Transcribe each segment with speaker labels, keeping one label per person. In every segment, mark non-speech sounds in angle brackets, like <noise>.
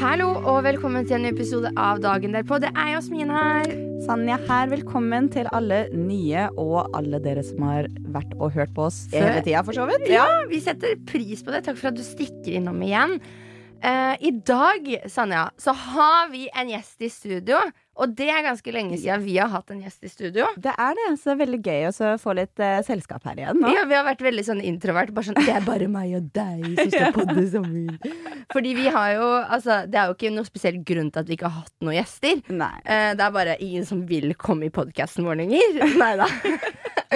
Speaker 1: Hallo og velkommen til en ny episode av Dagen derpå. Det er Jasmin her.
Speaker 2: Sanja her, velkommen til alle nye og alle dere som har vært og hørt på oss
Speaker 1: Før.
Speaker 2: hele tida, for så vidt.
Speaker 1: Ja, Vi setter pris på det. Takk for at du stikker innom igjen. Eh, I dag Sanja, så har vi en gjest i studio. Og det er ganske lenge siden vi har hatt en gjest i studio.
Speaker 2: Det er det, så det er veldig gøy også å få litt eh, selskap her igjen. nå.
Speaker 1: Ja, Vi har vært veldig sånn introvert. Bare sånn, det er bare meg og deg
Speaker 2: <laughs>
Speaker 1: som skal podde sammen. Fordi vi har jo Altså, det er jo ikke noe spesiell grunn til at vi ikke har hatt noen gjester.
Speaker 2: Nei.
Speaker 1: Eh, det er bare ingen som vil komme i podkasten vår lenger. <laughs>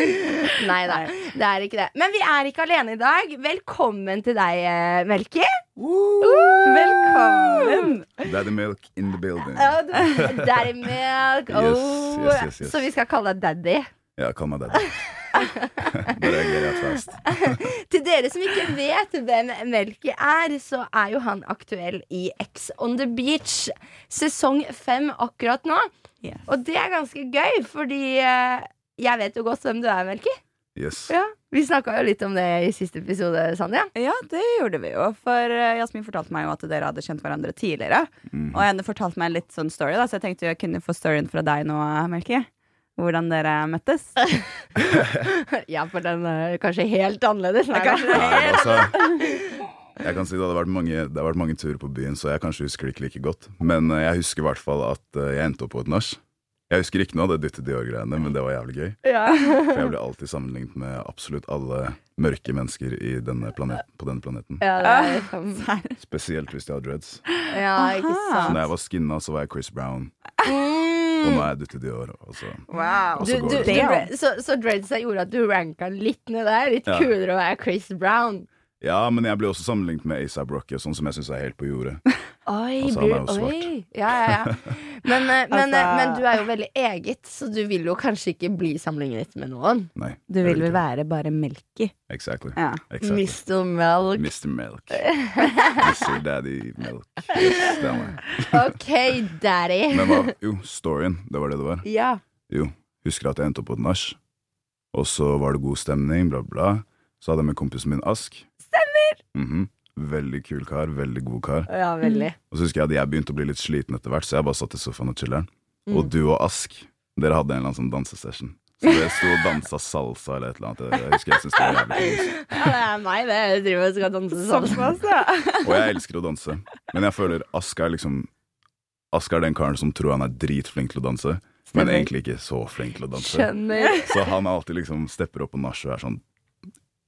Speaker 1: <laughs> Nei da. Nei da, det er ikke det. Men vi er ikke alene i dag. Velkommen til deg, eh, Melki.
Speaker 2: Velkommen!
Speaker 3: Daddy Milk in the building.
Speaker 1: Daddy Milk.
Speaker 3: Yes,
Speaker 1: Oh.
Speaker 3: yes, yes, yes.
Speaker 1: Så vi skal kalle deg Daddy.
Speaker 3: Ja, kom
Speaker 1: <laughs>
Speaker 3: med daddy. Bare jeg er rett fast.
Speaker 1: Til dere som ikke vet hvem Melki er, så er jo han aktuell i X on the beach sesong fem akkurat nå.
Speaker 2: Yes.
Speaker 1: Og det er ganske gøy, fordi eh, jeg vet jo godt hvem du er, Melki.
Speaker 3: Yes.
Speaker 1: Ja, Vi snakka jo litt om det i siste episode, Sanja.
Speaker 2: Ja, det gjorde vi jo, for eh, Jasmin fortalte meg jo at dere hadde kjent hverandre tidligere.
Speaker 3: Mhm.
Speaker 2: Og henne fortalte meg litt sånn story, da, så jeg tenkte jo jeg kunne få storyen fra deg nå, Melki. Hvordan dere
Speaker 1: <laughs>
Speaker 2: møttes.
Speaker 1: <laughs> Ja, for den er kanskje helt annerledes. Nei, da.
Speaker 3: Nei, altså, jeg kan si det, hadde vært mange, det har vært mange turer på byen, så jeg kanskje husker det ikke like godt. Men eh, jeg husker i hvert fall at eh, jeg endte opp på et nach. Jeg husker ikke noe av det dytte Dior-greiene, men det var jævlig gøy. For jeg ble alltid sammenlignet med absolutt alle mørke mennesker i denne planet, på denne planeten.
Speaker 1: <laughs> Ja, det er liksom,
Speaker 3: Spesielt hvis de har dreads.
Speaker 1: ja, ikke
Speaker 3: Så
Speaker 1: sant.
Speaker 3: når jeg var skinna, så var jeg Chris Brown. Og
Speaker 1: Mm.
Speaker 3: nå er jeg dytte altså. Dior. og så-
Speaker 2: Wow.
Speaker 3: Og
Speaker 1: Du,
Speaker 3: så
Speaker 1: du,
Speaker 3: går
Speaker 1: du,
Speaker 3: det.
Speaker 1: så, så dreadsa gjorde at du ranka litt ned der. Litt
Speaker 3: Ja.
Speaker 1: kulere å være Chris Brown.
Speaker 3: Ja, men jeg ble også sammenlignet med ASAP Rocky, sånn som jeg syns er helt på jordet.
Speaker 1: Oi,
Speaker 3: Altså, han
Speaker 1: blir,
Speaker 3: er jo svart.
Speaker 1: oi. Ja, ja,
Speaker 3: <laughs>
Speaker 1: ja. Men, eh, men, eh,
Speaker 2: Altså-
Speaker 1: men du er jo veldig eget, så du vil jo kanskje ikke bli sammenlignet med noen.
Speaker 3: Nei.
Speaker 2: Du
Speaker 3: jeg
Speaker 2: vil vel
Speaker 3: ikke.
Speaker 2: være bare Melki?
Speaker 3: Exactly.
Speaker 2: Ja.
Speaker 3: exactly.
Speaker 1: Mr. Melk.
Speaker 3: Mr. Milk. <laughs> Mr. Daddy Milk. Yes, det er meg.
Speaker 1: OK, daddy.
Speaker 3: <laughs> Men hva Jo, storyen. Det var det det var.
Speaker 1: Ja.
Speaker 3: Jo, husker at jeg endte opp på et nach, og så var det god stemning, bla, bla. Så hadde jeg med kompisen min Ask. Stemmer! Veldig kul kar, veldig god kar.
Speaker 1: ja, veldig.
Speaker 3: Og så husker jeg at jeg begynte å bli litt sliten etter hvert, så jeg bare satt i sofaen og chiller'n.
Speaker 1: Mm.
Speaker 3: Og du og Ask, dere hadde en eller annen sånn dansesession. Så dere sto og dansa salsa eller et eller annet. Jeg husker jeg syntes det var jævlig kos.
Speaker 1: <laughs> Ja, det er meg, det. Jeg driver og skal danse sånn. sammen.
Speaker 3: Og jeg elsker å danse, men jeg føler Ask er liksom Ask er den karen som tror han er dritflink til å danse, men
Speaker 1: Stemmer.
Speaker 3: egentlig ikke så flink til å danse.
Speaker 1: Skjønner.
Speaker 3: Så han er alltid liksom stepper opp på nach og er sånn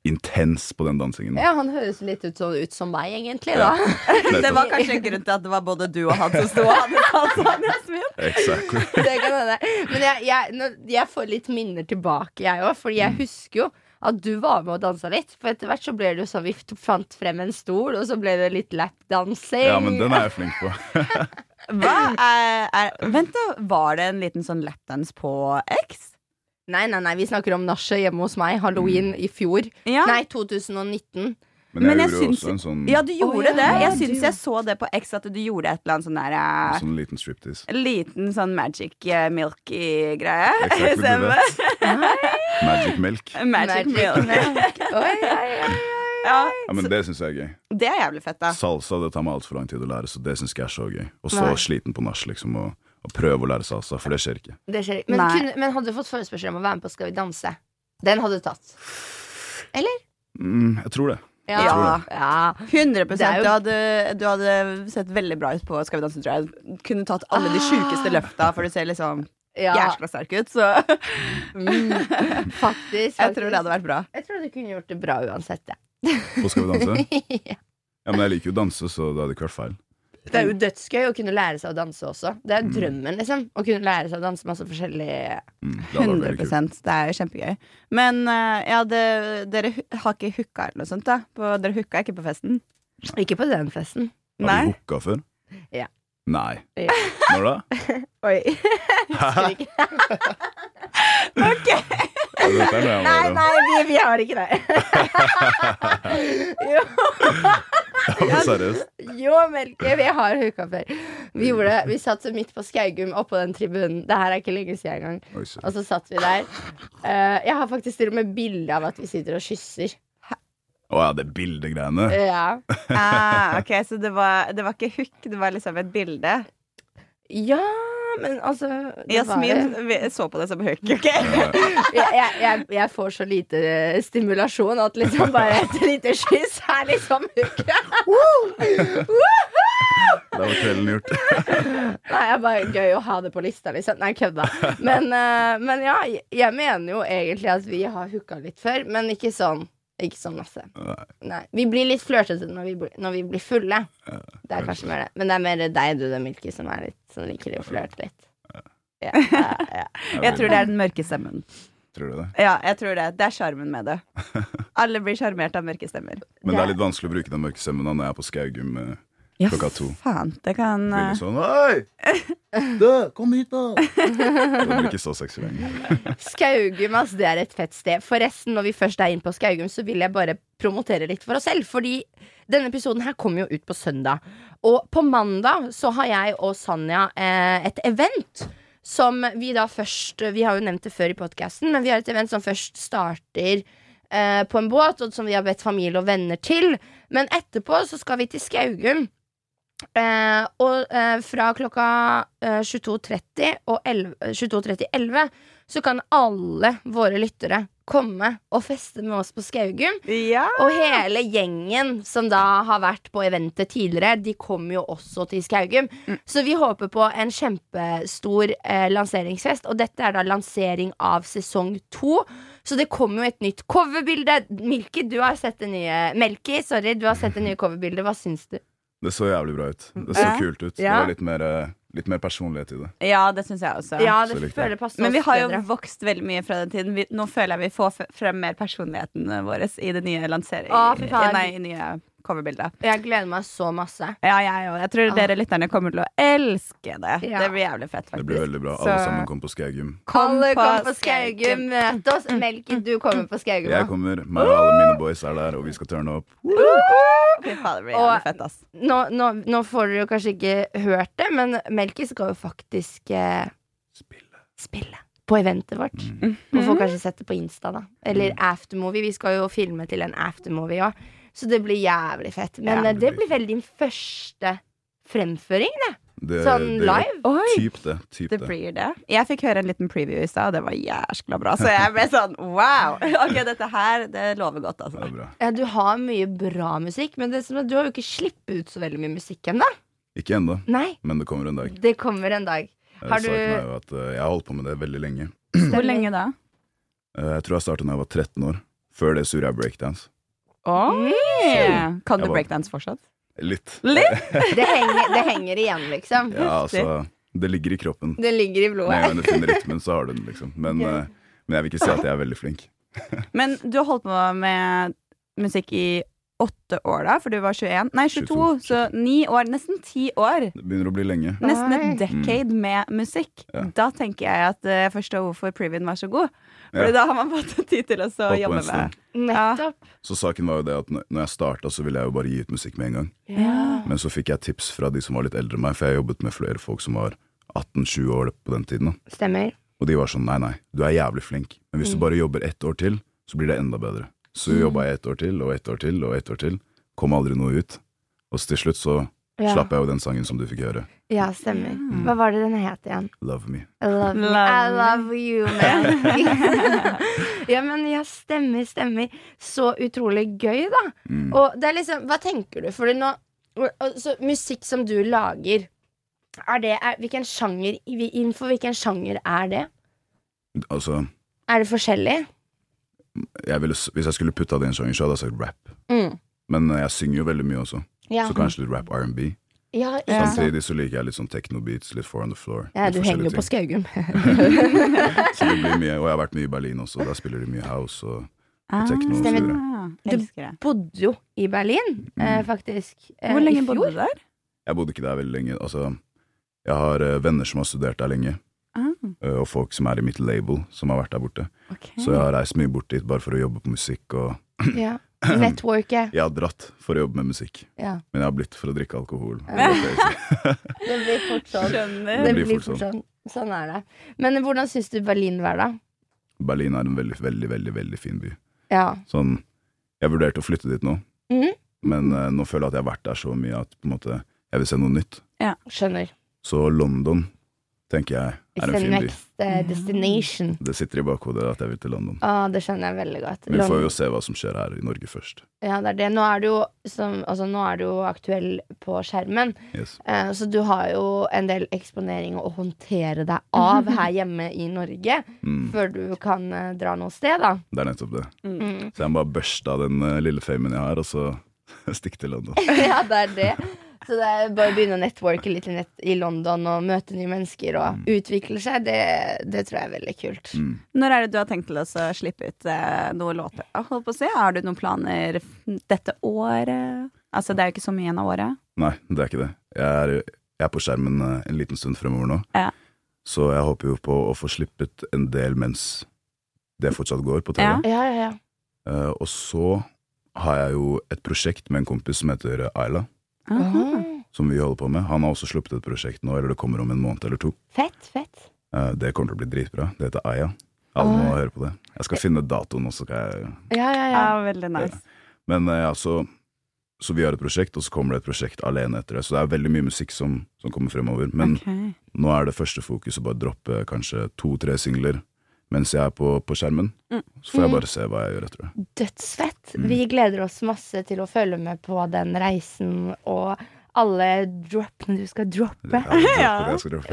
Speaker 3: intens på den dansingen.
Speaker 1: Ja, han høres litt ut, sånn ut som meg, egentlig, da.
Speaker 3: Nettopp.
Speaker 2: Det var kanskje en grunn til at det var både du og han som sto og hadde salsaen, Jasmin.
Speaker 3: Exactly.
Speaker 1: <laughs> Det kan hende. Men jeg, jeg, nå, jeg får litt minner tilbake, jeg òg. Fordi
Speaker 3: Mm.
Speaker 1: jeg husker jo at du var med og dansa litt. For etter hvert så ble det jo sånn vi f- fant frem en stol, og så ble det litt lapdansing.
Speaker 3: Ja, men den er jeg flink på.
Speaker 2: Hva er, er Vent, da. Var det en liten sånn lapdance på X?
Speaker 1: Nei, nei, nei, vi snakker om nachet hjemme hos meg. Halloween
Speaker 3: Mm.
Speaker 1: i fjor.
Speaker 2: Ja.
Speaker 1: Nei, 2019.
Speaker 3: Men jeg,
Speaker 2: Men jeg
Speaker 3: gjorde jo
Speaker 2: syns-
Speaker 3: også en sånn,
Speaker 2: ja, du
Speaker 1: Å,
Speaker 2: gjorde
Speaker 1: ja,
Speaker 2: det. Jeg
Speaker 1: du-
Speaker 2: syns jeg så det på X, at du gjorde et eller annet sånn der
Speaker 3: en
Speaker 2: eh,
Speaker 3: sånn liten striptease.
Speaker 2: Liten sånn magic eh, milky-greie.
Speaker 3: Exactly, du
Speaker 2: Stemmer.
Speaker 3: Magic milk.
Speaker 2: magic milk.
Speaker 1: <laughs> Oi, oi, oi.
Speaker 2: <laughs> Ja,
Speaker 3: Ja, men Det syns jeg er gøy.
Speaker 2: det er jævlig fett, da.
Speaker 3: Salsa det tar meg altfor lang tid å lære, så det syns ikke jeg er så gøy. Og så
Speaker 1: Nei.
Speaker 3: sliten på nach, liksom, og, og prøve å lære salsa, for det skjer ikke.
Speaker 1: Det skjer. Men,
Speaker 2: Nei.
Speaker 1: kunne, men hadde du fått forespørsel om å være med på Skal vi danse? Den hadde du tatt.
Speaker 3: Mm, jeg tror det.
Speaker 2: Jeg tror
Speaker 1: ja.
Speaker 2: 100
Speaker 1: Det er jo-
Speaker 2: du, hadde, du hadde sett veldig bra ut på Skal vi danse, tror jeg. Kunne tatt alle de sjukeste løfta, for du ser liksom
Speaker 1: ja.
Speaker 2: jæskla sterk ut. Så <laughs> jeg
Speaker 1: Mm. Faktisk, faktisk.
Speaker 2: tror det hadde vært bra.
Speaker 1: Jeg tror du kunne gjort det bra uansett. Ja.
Speaker 3: Og skal vi danse?
Speaker 1: <laughs>
Speaker 3: Ja, men jeg liker jo å danse, så det hadde ikke vært feil.
Speaker 1: Det er jo dødsgøy å kunne lære seg å danse også. Det er drømmen, liksom. Å kunne lære seg å danse masse forskjellig
Speaker 3: Mm, det hadde vært
Speaker 2: 100
Speaker 3: veldig kult.
Speaker 2: Det er jo kjempegøy. Men eh, ja, det, dere hu- har ikke hooka eller noe sånt, da? På, dere hooka ikke på festen?
Speaker 1: Ikke på den festen.
Speaker 3: Har
Speaker 2: Nei?
Speaker 3: du hooka før?
Speaker 1: Ja.
Speaker 3: Nei.
Speaker 1: Ja.
Speaker 3: Når da? <laughs>
Speaker 1: Oi.
Speaker 3: Hæ?
Speaker 1: ikke.
Speaker 3: ok. Dette er noe jeg må
Speaker 1: Nei,
Speaker 3: gjøre.
Speaker 1: nei, vi, vi har ikke det. jo,
Speaker 3: Men Seriøst.
Speaker 1: jo Melke, vi har hooka før. Vi, gjorde, det. vi satt midt på Skaugum oppå den tribunen. Det her er ikke lenge siden engang.
Speaker 3: Oi, shit.
Speaker 1: Og så satt vi der. Eh, jeg har faktisk til og med bilde av at vi sitter og kysser. Eh,
Speaker 3: Å ja, det bildegreiene.
Speaker 1: Ja,
Speaker 2: Ah, ok, Så det var, det var ikke hook, det var liksom et bilde.
Speaker 1: ja men altså det
Speaker 2: Jasmin
Speaker 1: var-
Speaker 2: vi- så på det som hook. ok?
Speaker 1: jeg, jeg, jeg, jeg får så lite eh, stimulasjon at liksom bare et lite kyss er liksom
Speaker 3: Da var kvelden gjort.
Speaker 1: Nei, jeg bare gøy å ha det på lista, liksom. Nei, kødda. Men, eh, men ja, jeg- jeg mener jo egentlig at vi har hooka litt før, men ikke sånn. Ikke sånn masse.
Speaker 3: Nei.
Speaker 1: Nei. Vi blir litt flørtete når, vi blir- når vi blir fulle. Det er kanskje mer det. Men det er mer deg, du, det Milky, som er litt Som liker å flørte litt. Ja, ja, ja.
Speaker 2: Jeg tror det er den mørke stemmen.
Speaker 3: Tror du det?
Speaker 2: Ja, jeg tror det. Det er sjarmen med
Speaker 3: <laughs>
Speaker 2: det. Alle blir sjarmert av mørke stemmer.
Speaker 3: Men det er litt vanskelig å bruke den mørke stemmen da når jeg er på Skaugum eh,
Speaker 2: Ja,
Speaker 3: klokka to.
Speaker 2: faen. Det kan
Speaker 3: Blir
Speaker 2: eh,
Speaker 3: litt sånn Hei! Dø! Kom hit, da! Det blir ikke så sexy lenger.
Speaker 1: Skaugum, ass, det er et fett sted. Forresten, når vi først er inne på Skaugum, så vil jeg bare promotere litt for oss selv. Fordi denne episoden her kommer jo ut på søndag. Og på mandag så har jeg og Sanja eh, et event. Som vi da først Vi har jo nevnt det før i podkasten, men vi har et event som først starter eh, på en båt, og som vi har bedt familie og venner til. Men etterpå så skal vi til Skaugum. Eh, og eh, fra klokka eh, 22.30 og 11, 22.30 11 så kan alle våre lyttere komme og feste med oss på Skaugum.
Speaker 2: eh, Ja!
Speaker 1: Og hele gjengen som da har vært på eventet tidligere, de kommer jo også til Skaugum. Så vi håper på en kjempestor eh, lanseringsfest, og dette er da lansering av sesong to. Så det kommer jo et nytt coverbilde. Milky, du har sett det nye Melky, sorry, du har sett det nye coverbildet. Hva syns du?
Speaker 3: Det så jævlig bra ut. Det så
Speaker 2: Ja.
Speaker 3: kult ut. Det
Speaker 1: Ja.
Speaker 3: var litt mer, eh, litt mer personlighet i det.
Speaker 2: Ja, det syns jeg også.
Speaker 1: Ja,
Speaker 3: så
Speaker 1: det
Speaker 3: likte jeg.
Speaker 1: føler passer
Speaker 2: Men vi
Speaker 1: oss
Speaker 2: har jo
Speaker 1: bedre.
Speaker 2: vokst veldig mye fra den tiden. Vi, nå føler jeg vi får f- frem mer personligheten vår i det nye lanseringen.
Speaker 1: Å, fy faen.
Speaker 2: Nei, i nye coverbildet.
Speaker 1: Jeg gleder meg så masse.
Speaker 2: Ja, jeg òg. Jeg tror dere lytterne kommer til å elske det.
Speaker 1: Ja.
Speaker 2: Det blir jævlig fett, faktisk.
Speaker 3: Det blir veldig bra.
Speaker 2: Så
Speaker 3: Alle sammen kom på Skaugum.
Speaker 1: Alle kommer på Skaugum. Mm, Møt oss. Melky, du kommer på Skaugum.
Speaker 3: Jeg
Speaker 1: også.
Speaker 3: kommer. Meg og alle mine boys er der, og vi skal turne opp.
Speaker 2: Fy faen, det blir
Speaker 1: Og-
Speaker 2: jævlig fett, ass.
Speaker 1: Nå, nå, nå får dere jo kanskje ikke hørt det, men Melky skal jo faktisk eh,
Speaker 3: Spille.
Speaker 1: spille på eventet vårt.
Speaker 3: Mm.
Speaker 1: Man får kanskje sett det på Insta, da. Eller aftermovie. Vi skal jo filme til en aftermovie òg, så det blir jævlig fett. Men
Speaker 2: Ja,
Speaker 1: eh,
Speaker 3: det
Speaker 1: det
Speaker 3: blir
Speaker 1: blir vel din første fremføring, det.
Speaker 3: Det,
Speaker 1: Sånn
Speaker 3: det-
Speaker 1: live.
Speaker 2: Oi!
Speaker 3: Typ det. Typ
Speaker 2: Det
Speaker 3: det.
Speaker 2: blir det. Jeg fikk høre en liten preview i stad, og det var jæskla bra. Så jeg ble sånn wow! <laughs> Ok, dette her, det lover godt,
Speaker 3: Det er
Speaker 2: altså.
Speaker 3: bra.
Speaker 1: Ja, du har mye bra musikk, men det som er, du har jo ikke sluppet ut så veldig mye musikk ennå.
Speaker 3: Ikke ennå,
Speaker 1: Nei.
Speaker 3: men det kommer en dag.
Speaker 1: Det kommer en dag.
Speaker 3: Eh,
Speaker 1: Har du-
Speaker 3: Saken er jo at eh, jeg har holdt på med det veldig lenge.
Speaker 2: Hvor lenge da?
Speaker 3: Eh, Jeg tror jeg startet da jeg var 13 år. Før det surra jeg breakdance.
Speaker 2: Oi! Kan
Speaker 3: Jeg
Speaker 2: du
Speaker 3: var-
Speaker 2: breakdance fortsatt?
Speaker 3: Litt.
Speaker 2: Litt!
Speaker 1: Det henger, det henger igjen, liksom.
Speaker 3: Ja, altså, det ligger i kroppen.
Speaker 1: Det ligger i
Speaker 3: Med en
Speaker 1: blodet.
Speaker 3: gang du finner rytmen, så har du den, liksom. Men, eh, men jeg vil ikke si at jeg er veldig flink.
Speaker 2: Men du har holdt på med musikk i åtte år, da? For du var 21? Nei, 22.
Speaker 3: 22.
Speaker 2: Så ni år. Nesten ti år.
Speaker 3: Det begynner å bli lenge.
Speaker 2: Nesten
Speaker 1: Oi.
Speaker 2: et decade med musikk.
Speaker 3: Mm. Ja.
Speaker 2: Da tenker jeg at eh, jeg forstår hvorfor previen var så god.
Speaker 3: Ja.
Speaker 2: For da har man fått <laughs> tid til å så
Speaker 3: Holdt på
Speaker 2: jobbe
Speaker 3: en stund.
Speaker 2: med.
Speaker 1: Nettopp.
Speaker 3: Så saken var jo det at når når jeg starta, så ville jeg jo bare gi ut musikk med en gang. Men så fikk jeg tips fra de som var litt eldre enn meg, for jeg jobbet med flere folk som var 18-20 år på den tiden. da.
Speaker 1: Stemmer.
Speaker 3: Og de var sånn nei, nei, du er jævlig flink, men
Speaker 1: Mm.
Speaker 3: hvis du bare jobber ett år til, så blir det enda bedre. Så jobba jeg ett år til, og ett år til, og ett år til. Kom aldri noe ut. Og så til slutt så
Speaker 1: Ja.
Speaker 3: slapp jeg jo den sangen som du fikk høre,
Speaker 1: Ja, stemmer. Hva var det den het igjen?
Speaker 3: Love Me.
Speaker 1: I Mm. love, me.
Speaker 2: Love
Speaker 1: I
Speaker 2: me.
Speaker 1: love you, man. <laughs> ja, men ja, stemmer, stemmer. Så utrolig gøy, da.
Speaker 3: Mm.
Speaker 1: Og det er liksom, hva tenker du? Fordi nå, altså, musikk som du lager, er det, er, hvilken sjanger, innenfor hvilken sjanger er det?
Speaker 3: Altså,
Speaker 1: Er det forskjellig?
Speaker 3: jeg ville, s- hvis jeg skulle putta det i en sjanger, så hadde jeg sagt rap.
Speaker 1: Mm.
Speaker 3: Men eh, jeg synger jo veldig mye også,
Speaker 1: Ja.
Speaker 3: så kanskje litt rap R&B.
Speaker 1: Ja, ikke
Speaker 2: Ja.
Speaker 1: sant?
Speaker 3: Samtidig så liker jeg litt sånn techno-beats, litt four on the floor.
Speaker 1: Ja,
Speaker 3: litt
Speaker 1: du henger jo på
Speaker 3: forskjellige
Speaker 1: Skaugum.
Speaker 3: ting. Så det blir mye, og jeg har vært mye i Berlin også, der spiller de mye house og, og techno og så
Speaker 1: Stemmer.
Speaker 3: videre.
Speaker 1: Du-
Speaker 2: Ah, Elsker det.
Speaker 1: Bodde jo i Berlin,
Speaker 3: mm.
Speaker 1: eh, faktisk. eh,
Speaker 2: Hvor
Speaker 1: i
Speaker 2: lenge
Speaker 1: fjor.
Speaker 2: bodde du der?
Speaker 1: Ah.
Speaker 3: Jeg bodde ikke der veldig lenge. Altså, jeg har eh, venner som har studert der lenge, eh, og folk som er i mitt label, som har vært der borte. Så jeg har reist mye bort dit bare for å jobbe på musikk, og
Speaker 1: Ja. Networket.
Speaker 3: jeg har dratt for å jobbe med musikk.
Speaker 1: Ja.
Speaker 3: Men jeg har blitt for å drikke alkohol.
Speaker 1: Det blir fort sånn.
Speaker 2: Skjønner.
Speaker 1: Det blir fort sånn. Sånn er det. Men hvordan syns du Berlin var, da?
Speaker 3: <laughs> Berlin er en veldig, veldig, veldig, veldig fin by.
Speaker 1: Ja.
Speaker 3: Sånn, jeg vurderte å flytte dit nå,
Speaker 1: Mhm.
Speaker 3: men eh, nå føler jeg at jeg har vært der så mye at på en måte, jeg vil se noe nytt.
Speaker 1: Skjønner.
Speaker 3: Så London tenker jeg
Speaker 1: It's
Speaker 3: er en
Speaker 1: the
Speaker 3: fin by.
Speaker 1: next eh, destination.
Speaker 3: Det sitter i bakhodet at jeg vil til London.
Speaker 1: Ah, det skjønner jeg veldig godt.
Speaker 3: Men vi får
Speaker 1: London-
Speaker 3: jo se hva som skjer her i Norge først.
Speaker 1: Ja, det er det. Nå er du jo, som, altså, nå er du jo aktuell på skjermen,
Speaker 3: Yes.
Speaker 1: eh, så du har jo en del eksponering å håndtere deg <laughs> av her hjemme i Norge
Speaker 3: Mm,
Speaker 1: før du kan eh, dra noe sted, da.
Speaker 3: det er nettopp det.
Speaker 1: Mm. <laughs>
Speaker 3: Så jeg må bare børste av den eh, lille famen jeg har, og så <laughs> stikke til London.
Speaker 1: ja, det er det. Så det er bare å begynne å networke litt i, nett i London og møte nye mennesker og utvikle seg. Det, det tror jeg er veldig kult.
Speaker 3: Mm.
Speaker 2: Når er det du har tenkt til å så slippe ut eh, noen låter? Ah, Holdt på å si. Har du noen planer f- dette året? Altså, det er jo ikke så mye igjen av året.
Speaker 3: Nei, det er ikke det. Jeg er, jeg er på skjermen eh, en liten stund fremover nå.
Speaker 2: Ja.
Speaker 3: Så jeg håper jo på å få slippet en del mens det fortsatt går på TV.
Speaker 2: Ja.
Speaker 1: Ja, ja, ja.
Speaker 3: Eh, og så har jeg jo et prosjekt med en kompis som heter Ayla,
Speaker 2: Aha.
Speaker 1: Ah,
Speaker 3: som vi holder på med. Han har også sluppet et prosjekt nå, eller det kommer om en måned eller to.
Speaker 1: Fett, fett.
Speaker 3: Eh, det kommer til å bli dritbra. Det heter Aya. Alle må
Speaker 1: Ah.
Speaker 3: høre på det. Jeg skal finne datoen, og så skal jeg
Speaker 1: Ja, ja, ja.
Speaker 2: Ja, veldig nice.
Speaker 3: Men eh, ja, så, så vi har et prosjekt, og så kommer det et prosjekt alene etter det. Så det er veldig mye musikk som, som kommer fremover. Men
Speaker 2: Ok.
Speaker 3: nå er det første fokus å bare droppe kanskje to-tre singler mens jeg er på, på skjermen.
Speaker 2: Mm.
Speaker 3: Så får
Speaker 1: Mm.
Speaker 3: jeg bare se hva jeg gjør etter det.
Speaker 1: dødsfett.
Speaker 3: Mm.
Speaker 1: Vi gleder oss masse til å følge med på den reisen og alle dropene du skal droppe.
Speaker 3: Ja,
Speaker 2: Ja.
Speaker 3: det skal jeg droppe.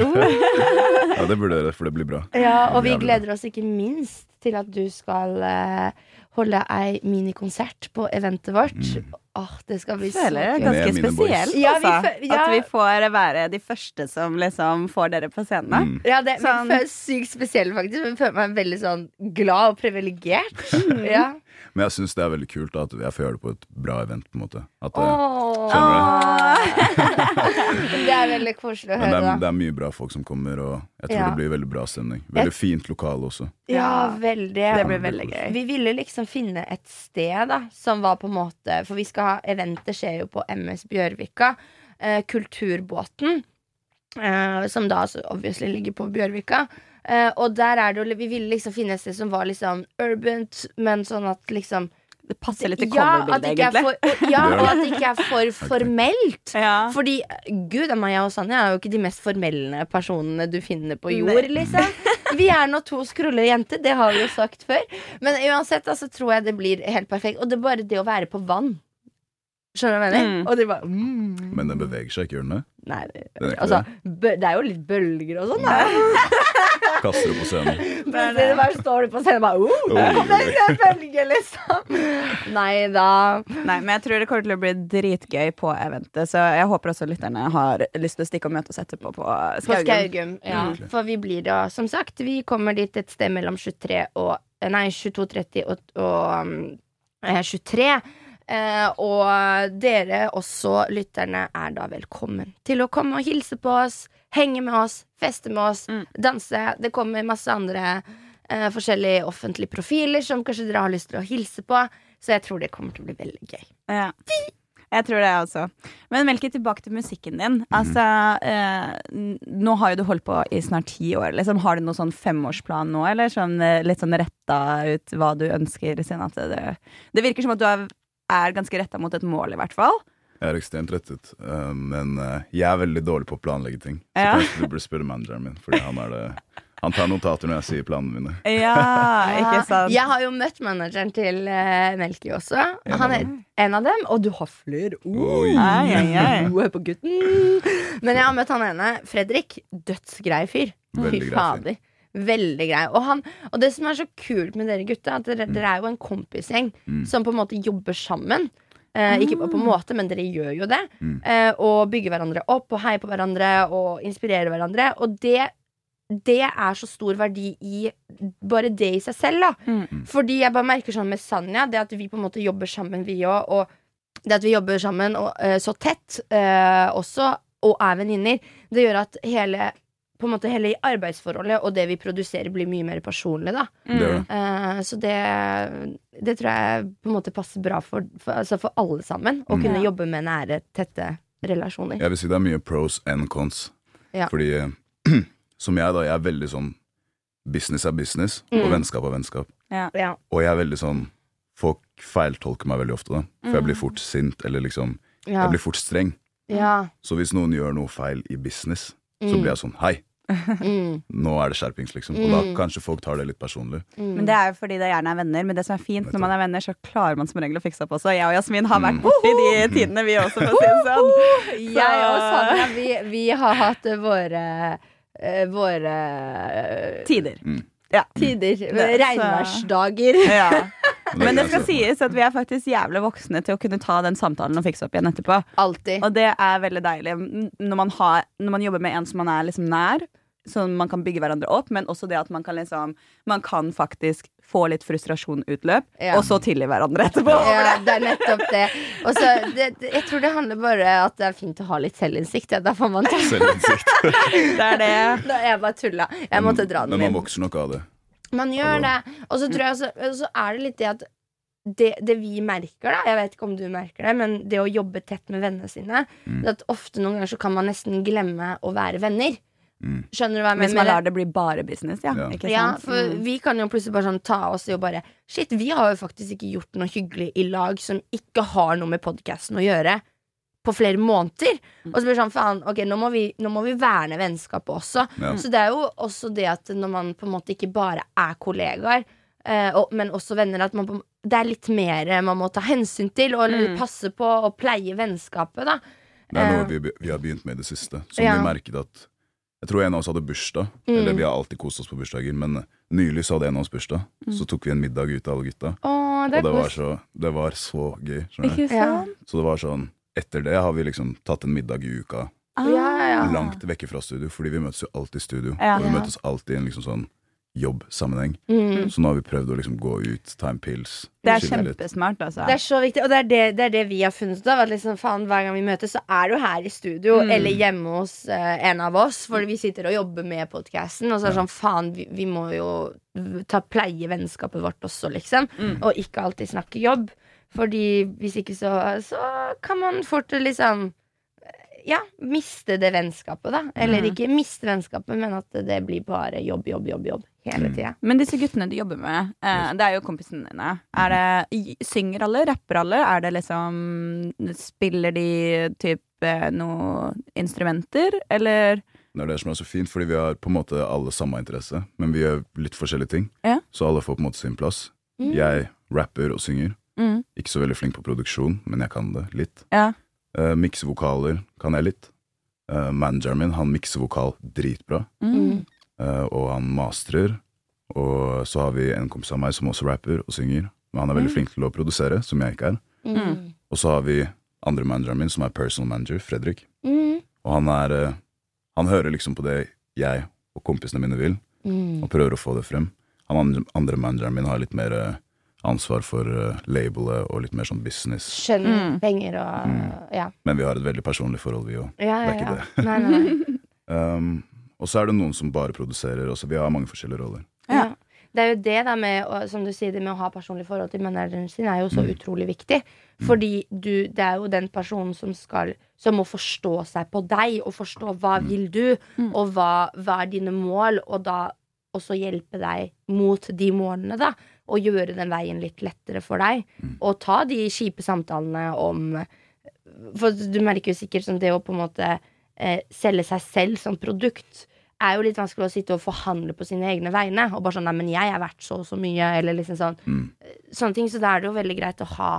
Speaker 3: ja, det burde dere, for det blir bra.
Speaker 1: Ja, og vi
Speaker 3: Jævlig bra.
Speaker 1: gleder oss ikke minst til at du skal eh, holde ei minikonsert på eventet vårt.
Speaker 3: Mm.
Speaker 1: Åh, det skal bli
Speaker 2: Jeg føler det er
Speaker 1: så kult.
Speaker 3: Med
Speaker 2: ganske
Speaker 3: mine boys.
Speaker 2: spesielt,
Speaker 1: Ja, vi
Speaker 2: altså.
Speaker 1: fø- ja.
Speaker 2: At vi får være de første som liksom får dere på scenen.
Speaker 3: Mm.
Speaker 1: Ja, det men
Speaker 2: Sånn.
Speaker 1: jeg føler sykt spesiell, faktisk. Men jeg føler meg veldig sånn glad og privilegert.
Speaker 3: Mm.
Speaker 1: Ja.
Speaker 3: Men jeg syns det er veldig kult da, at jeg får gjøre det på et bra event, på en måte. At det,
Speaker 1: Åh.
Speaker 3: Skjønner
Speaker 1: <laughs> Det er veldig koselig å
Speaker 3: eh, men det
Speaker 1: høre, da.
Speaker 3: er, det er mye bra folk som kommer, og jeg tror
Speaker 1: Ja.
Speaker 3: det blir veldig bra stemning. Veldig fint lokale også.
Speaker 1: Ja, veldig.
Speaker 2: Det blir veldig gøy.
Speaker 1: Vi ville liksom finne et sted da som var på en måte For vi skal ha eventet skjer jo på MS Bjørvika. Eh, Kulturbåten, eh, som da altså obviously ligger på Bjørvika. Eh, og der er det jo Vi ville liksom finne et sted som var liksom urbant, men sånn at liksom
Speaker 2: Det passer litt til
Speaker 1: Ja, at
Speaker 2: coverbildet,
Speaker 1: det ikke er
Speaker 2: egentlig.
Speaker 1: for, og, ja, og at det
Speaker 2: <laughs>
Speaker 1: ikke er for formelt.
Speaker 2: Ja.
Speaker 1: Fordi gud meg og Sanja er jo ikke de mest formelle personene du finner på jord, liksom. Vi er nå to skrulle jenter, det har vi jo sagt før. Men uansett altså, tror jeg det blir helt perfekt. Og det er bare det å være på vann. Skjønner du hva jeg mener?
Speaker 2: Mm.
Speaker 1: Og det er bare mm.
Speaker 3: Men den beveger seg ikke, gjør den det?
Speaker 1: Nei, det,
Speaker 3: Den er ikke
Speaker 1: altså, bø, det er jo litt bølger og sånn, da.
Speaker 3: Kaster opp på scenen.
Speaker 1: Men det bare står du på scenen og bare oh,
Speaker 3: Oi,
Speaker 1: <laughs> Det er en bølge, liksom. Nei da.
Speaker 2: <laughs> Nei, men jeg tror det kommer til å bli dritgøy på eventet, så jeg håper også lytterne har lyst til å stikke og møte oss etterpå på
Speaker 1: På
Speaker 2: Skaugum.
Speaker 1: Skaugum. Ja.
Speaker 3: Mm.
Speaker 1: For vi blir da, som sagt, vi kommer dit et sted mellom 23 og Nei, 22.30 og, og um, eh, 23. Eh, og dere også, lytterne, er da velkommen til å komme og hilse på oss, henge med oss, feste med oss,
Speaker 2: Mm.
Speaker 1: danse. Det kommer masse andre eh, forskjellige offentlige profiler som kanskje dere har lyst til å hilse på. Så jeg tror det kommer til å bli veldig gøy.
Speaker 2: Ja. Jeg tror det, også. Men Melke, tilbake til musikken din.
Speaker 3: Mhm.
Speaker 2: Altså, eh, n- nå har jo du holdt på i snart ti år. Liksom. Har du noen sånn femårsplan nå, eller sånn, eh, litt sånn retta ut hva du ønsker? Siden at det, det virker som at du er, er ganske retta mot et mål, i hvert fall.
Speaker 3: Jeg er ekstremt rettet, eh, men eh, jeg er veldig dårlig på å planlegge ting. Så
Speaker 2: Ja.
Speaker 3: kanskje du burde spørre manageren min, fordi han, er det, han tar notater når jeg sier planene mine.
Speaker 2: Ja, <laughs>
Speaker 1: Ja,
Speaker 2: ikke sant?
Speaker 1: Eh, Jeg har jo møtt manageren til uh, Melky også.
Speaker 3: En av
Speaker 1: Han er en av dem, og du har flere ord.
Speaker 3: Oi.
Speaker 2: Ai, ai,
Speaker 3: <laughs>
Speaker 2: ai.
Speaker 1: Du er på gutten. Men jeg har møtt han ene. Fredrik. Dødsgrei fyr.
Speaker 3: Veldig
Speaker 1: Fy
Speaker 3: grei fyr.
Speaker 1: fader. Veldig grei. Og, han, og det som er så kult med dere gutta, at dere, dere er jo en kompisgjeng
Speaker 3: Mm.
Speaker 1: som på en måte jobber sammen. Eh, ikke på en måte, men dere gjør jo det.
Speaker 3: Mm.
Speaker 1: Eh, og bygger hverandre opp og heier på hverandre og inspirerer hverandre. Og det, det er så stor verdi i bare det i seg selv. da
Speaker 2: Mm.
Speaker 1: Fordi jeg bare merker sånn med Sanja, det at vi på en måte jobber sammen, vi òg. Og det at vi jobber sammen og, eh, så tett eh, også, og er venninner, det gjør at hele på en måte hele i arbeidsforholdet og det vi produserer, blir mye mer personlig. da
Speaker 3: Det gjør det.
Speaker 1: Eh, Så det, det tror jeg på en måte passer bra for, for, altså for alle sammen. Å
Speaker 3: Mm.
Speaker 1: kunne
Speaker 2: Ja.
Speaker 1: jobbe med nære, tette relasjoner.
Speaker 3: Jeg vil si det er mye pros and cons.
Speaker 1: Ja.
Speaker 3: Fordi <clears throat> eh, som jeg, da, jeg er veldig sånn business er business, og
Speaker 1: Mm.
Speaker 3: vennskap er vennskap.
Speaker 1: Ja.
Speaker 3: Og jeg er veldig sånn Folk feiltolker meg veldig ofte, da. For jeg blir fort sint, eller liksom
Speaker 1: Ja.
Speaker 3: Jeg blir fort streng.
Speaker 1: ja.
Speaker 3: Så hvis noen gjør noe feil i business, så blir jeg sånn Hei,
Speaker 1: Mm.
Speaker 3: nå er det skjerpings, liksom. Og da
Speaker 1: Mm.
Speaker 3: kanskje folk tar det litt personlig.
Speaker 1: Mm.
Speaker 2: Men det er jo fordi det gjerne er venner. Men det som er fint når
Speaker 3: Vet du.
Speaker 2: man er venner, så klarer man som regel å fikse opp også. Jeg og Jasmin har vært
Speaker 3: Mm.
Speaker 2: borti de tidene, vi også, for å si det sånn.
Speaker 1: <laughs> Jeg og Sanja, vi, vi har hatt eh, våre eh, Våre eh,
Speaker 2: Tider.
Speaker 3: Mm.
Speaker 1: tider.
Speaker 2: Det-
Speaker 1: Regnværsdager.
Speaker 2: Ja.
Speaker 3: Men
Speaker 2: Men det
Speaker 3: er
Speaker 2: skal
Speaker 3: greit, da.
Speaker 2: sies at vi er faktisk jævlig voksne til å kunne ta den samtalen og fikse opp igjen etterpå.
Speaker 1: Alltid.
Speaker 2: Og det er veldig deilig n- når man, har, når man jobber med en som man er liksom nær, så man kan bygge hverandre opp, men også det at man kan, liksom, man kan faktisk få litt frustrasjon utløp,
Speaker 1: Ja.
Speaker 2: og så tilgi hverandre etterpå.
Speaker 1: Ja, det er nettopp det. Og så, det, det. Jeg tror det handler bare at det er fint å ha litt selvinnsikt. Ja. Da får man ta
Speaker 3: Selvinnsikt.
Speaker 2: <laughs> Det er det.
Speaker 1: Nå er jeg bare tulla. <laughs> Jeg måtte dra den
Speaker 3: Mm. Men
Speaker 1: inn.
Speaker 3: man vokser nok av det.
Speaker 1: Man gjør det. Og så tror jeg også, og så er det litt det at det, det vi merker, da Jeg vet ikke om du merker det, men det å jobbe tett med vennene sine
Speaker 3: Mm.
Speaker 1: Det at Ofte noen ganger så kan man nesten glemme å være venner.
Speaker 3: Mm.
Speaker 1: Skjønner du hva jeg
Speaker 2: Hvis man
Speaker 1: mener?
Speaker 2: lar det bli bare business, ja.
Speaker 3: Ja.
Speaker 2: Ikke sant? Mm.
Speaker 1: Ja, for
Speaker 3: Mm.
Speaker 1: vi kan jo plutselig bare sånn ta oss i og bare Shit, vi har jo faktisk ikke gjort noe hyggelig i lag som ikke har noe med podkasten å gjøre, på flere måneder.
Speaker 3: Mm.
Speaker 1: Og så blir det sånn, faen, ok, nå må vi, nå må vi verne vennskapet også.
Speaker 3: Ja.
Speaker 1: Så det er jo også det at når man på en måte ikke bare er kollegaer, eh, og, men også venner, at man på, det er litt mer eh, man må ta hensyn til og
Speaker 2: Mm.
Speaker 1: passe på og pleie vennskapet, da.
Speaker 3: Det er
Speaker 1: Eh.
Speaker 3: noe vi, be- vi har begynt med i det siste. Som
Speaker 1: Ja.
Speaker 3: vi merket at Jeg tror en av oss hadde bursdag.
Speaker 1: Mm.
Speaker 3: Eller vi har alltid kost oss på bursdager, men eh, nylig så hadde en av oss bursdag.
Speaker 1: Mm.
Speaker 3: Så tok vi en middag ut, alle gutta.
Speaker 1: Å,
Speaker 3: Og det var så, det var så gøy.
Speaker 1: <laughs>
Speaker 3: skjønner du?
Speaker 2: Ikke
Speaker 1: Ja.
Speaker 2: sant?
Speaker 3: Så det var sånn Etter det har vi liksom tatt en middag i uka,
Speaker 2: Ah.
Speaker 1: Ja, ja, ja.
Speaker 3: langt vekke fra studio, fordi vi møtes jo alltid i studio.
Speaker 2: Ja.
Speaker 3: Og vi
Speaker 1: Ja.
Speaker 3: møtes alltid i en liksom sånn jobbsammenheng.
Speaker 1: Mm.
Speaker 3: Så nå har vi prøvd å liksom gå ut, ta en pils,
Speaker 2: Det er
Speaker 3: chille litt.
Speaker 2: kjempesmart, altså.
Speaker 1: Det er så viktig, og det er det, det, er det vi har funnet ut av. At liksom, faen, hver gang vi møtes, så er du her i studio
Speaker 2: Mm.
Speaker 1: eller hjemme hos eh, en av oss. For vi sitter og jobber med podkasten, og så er det sånn faen, vi, vi må jo ta pleie vennskapet vårt også, liksom. Og ikke alltid snakke jobb. Fordi hvis ikke så, så kan man fort liksom ja, miste det vennskapet, da. Eller
Speaker 2: Mm.
Speaker 1: ikke miste vennskapet, men at det blir bare jobb, jobb, jobb, jobb hele
Speaker 3: Mm.
Speaker 1: tida.
Speaker 2: Men disse guttene du jobber med, eh, det er jo kompisene dine. Er det, i- synger alle? Rapper alle? Er det liksom Spiller de typ eh, noe instrumenter, eller?
Speaker 3: Det er det som er så fint, fordi vi har på en måte alle samme interesse, men vi gjør litt forskjellige ting.
Speaker 2: Ja.
Speaker 3: Så alle får på en måte sin plass.
Speaker 1: Mm.
Speaker 3: Jeg rapper og synger. Ikke så veldig flink på produksjon, men jeg kan det litt.
Speaker 2: Ja.
Speaker 3: Eh, mikse vokaler kan jeg litt. Eh, manageren min, han mikser vokal dritbra,
Speaker 1: Mm.
Speaker 3: eh, og han masterer. Og så har vi en kompis av meg som også rapper og synger, men han er veldig flink til å produsere, som jeg ikke er.
Speaker 1: Mm.
Speaker 3: Og så har vi andre manageren min, som er personal manager, Fredrik.
Speaker 1: Mm.
Speaker 3: Og han er eh, Han hører liksom på det jeg og kompisene mine vil,
Speaker 1: Mm.
Speaker 3: og prøver å få det frem. Han andre, andre manageren min har litt mer eh, ansvar for eh, labelet og litt mer sånn business.
Speaker 1: Skjønner
Speaker 2: Mm.
Speaker 1: penger og ja.
Speaker 3: Men vi har et veldig personlig forhold, vi òg.
Speaker 1: Ja,
Speaker 3: Det er ikke
Speaker 1: det. Nei, nei, nei.
Speaker 3: Um, og så er det noen som bare produserer. Også. Vi har mange forskjellige roller.
Speaker 2: Ja.
Speaker 1: Ja. Det er jo det da med, å- som du sier, det med å ha personlig forhold til manageren sin er jo så
Speaker 2: Mm.
Speaker 1: utrolig viktig. Fordi du, det er jo den personen som skal Som må forstå seg på deg, og forstå hva vil du,
Speaker 2: Mm.
Speaker 1: og hva, hva er dine mål, og da også hjelpe deg mot de målene, da. Og gjøre den veien litt lettere for deg.
Speaker 2: Mm.
Speaker 1: Og ta de kjipe samtalene om For du merker jo sikkert sånn det å på en måte eh, selge seg selv som produkt er jo litt vanskelig å sitte og forhandle på sine egne vegne. Og bare sånn, nei, men jeg er verdt så og så mye, eller liksom sånn.
Speaker 3: Mm.
Speaker 1: Sånne ting, Så da er det jo veldig greit å ha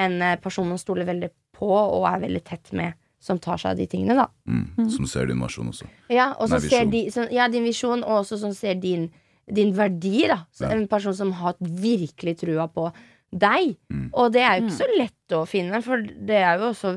Speaker 1: en eh, person man stoler veldig på, og er veldig tett med, som tar seg av de tingene, da.
Speaker 3: Mm. Som ser din versjon også.
Speaker 1: Ja, og som
Speaker 3: Nei,
Speaker 1: ser
Speaker 3: visjon.
Speaker 1: de, som, ja, din visjon, og også som ser din, din verdi. Da. Så
Speaker 3: Ja.
Speaker 1: En person som har virkelig trua på deg.
Speaker 3: Mm.
Speaker 1: Og det er jo ikke så lett å finne, for det er jo også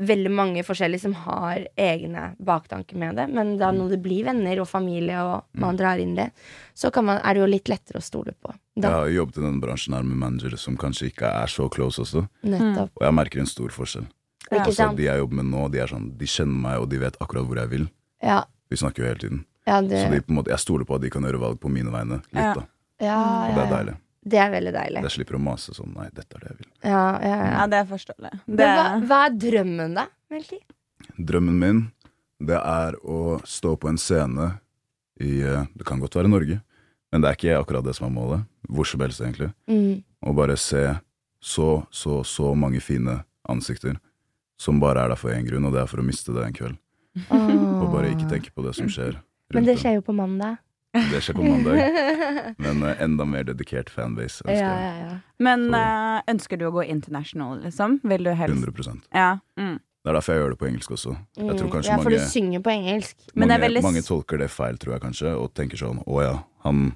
Speaker 1: veldig mange forskjellige som har egne baktanker med det. Men
Speaker 3: Mm.
Speaker 1: da når det blir venner og familie, og man drar inn det, så kan man, er det jo litt lettere å stole på.
Speaker 3: Jeg
Speaker 1: Da,
Speaker 3: har jo jobbet i denne bransjen her med managere som kanskje ikke er så close også,
Speaker 1: nettopp.
Speaker 3: og jeg merker en stor forskjell.
Speaker 1: Ikke
Speaker 3: Altså,
Speaker 1: sant?
Speaker 3: de jeg jobber med nå, de er sånn De kjenner meg, og de vet akkurat hvor jeg vil.
Speaker 1: Ja.
Speaker 3: Vi snakker jo hele tiden.
Speaker 1: Ja, det,
Speaker 3: Så de, på en måte, jeg stoler på at de kan gjøre valg på mine vegne
Speaker 2: Ja.
Speaker 3: litt, da.
Speaker 1: ja,
Speaker 3: Og
Speaker 1: ja,
Speaker 3: det er
Speaker 1: ja.
Speaker 3: deilig.
Speaker 1: det er veldig deilig.
Speaker 3: Jeg slipper å mase sånn Nei, dette er det jeg vil.
Speaker 1: Ja, ja, ja.
Speaker 2: Ja, det er forståelig. Mm. Det,
Speaker 1: Men hva, hva er drømmen, da? Melky?
Speaker 3: Drømmen min, det er å stå på en scene i eh, Det kan godt være Norge, men det er ikke akkurat det som er målet. Hvor som helst, egentlig.
Speaker 1: Mm.
Speaker 3: Og bare se så, så, så mange fine ansikter som bare er der for én grunn, og det er for å miste det en kveld. Og bare ikke tenke på det som skjer rundt
Speaker 1: Men det
Speaker 3: en.
Speaker 1: skjer jo på mandag.
Speaker 3: Det skjer på
Speaker 1: <laughs>
Speaker 3: mandag.
Speaker 2: <laughs>
Speaker 3: Men eh, enda mer dedikert fanbase.
Speaker 1: ja,
Speaker 3: ønsker jeg.
Speaker 1: ja, ja.
Speaker 2: men eh, ønsker du å gå international, liksom? Vil du helst
Speaker 3: 100
Speaker 2: Ja. Mm.
Speaker 3: Det er derfor jeg gjør det på engelsk også. Jeg tror
Speaker 1: Mm.
Speaker 3: kanskje
Speaker 1: ja, for
Speaker 3: mange,
Speaker 1: du synger på engelsk.
Speaker 2: Men det
Speaker 3: mange,
Speaker 2: er veldig s-
Speaker 3: mange tolker det feil, tror jeg kanskje, og tenker sånn å ja, han,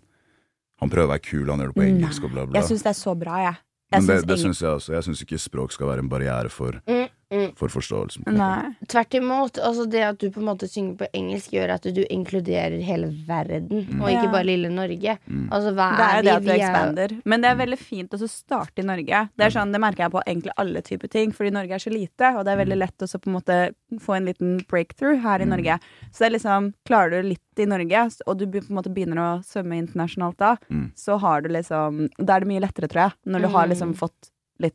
Speaker 3: han prøver å være kul, han gjør det på engelsk og bla, bla.
Speaker 2: Mm. Jeg syns det er så bra, jeg. jeg
Speaker 3: Men det,
Speaker 2: synes
Speaker 3: det
Speaker 2: ingen-
Speaker 3: syns jeg også. Jeg syns ikke språk skal være en barriere for,
Speaker 1: Mm, mm.
Speaker 3: for forståelsen.
Speaker 2: Nei.
Speaker 1: Tvert imot. Altså det at du på en måte synger på engelsk, gjør at du inkluderer hele verden, og ikke
Speaker 2: Ja.
Speaker 1: bare lille Norge.
Speaker 3: Mm.
Speaker 1: Altså, hva
Speaker 2: Det er jo
Speaker 1: vi?
Speaker 2: det at du
Speaker 1: Vi er-
Speaker 2: expander. Men det er veldig fint også å starte i Norge. Det er sånn, det merker jeg på egentlig alle typer ting, fordi Norge er så lite, og det er veldig lett også på en måte få en liten breakthrough her i Norge. Så det er liksom, klarer du litt i Norge, s- og du be- på en måte begynner å svømme internasjonalt da,
Speaker 3: Mm.
Speaker 2: så har du liksom Da er det mye lettere, tror jeg, når du har
Speaker 1: Mm.
Speaker 2: liksom fått litt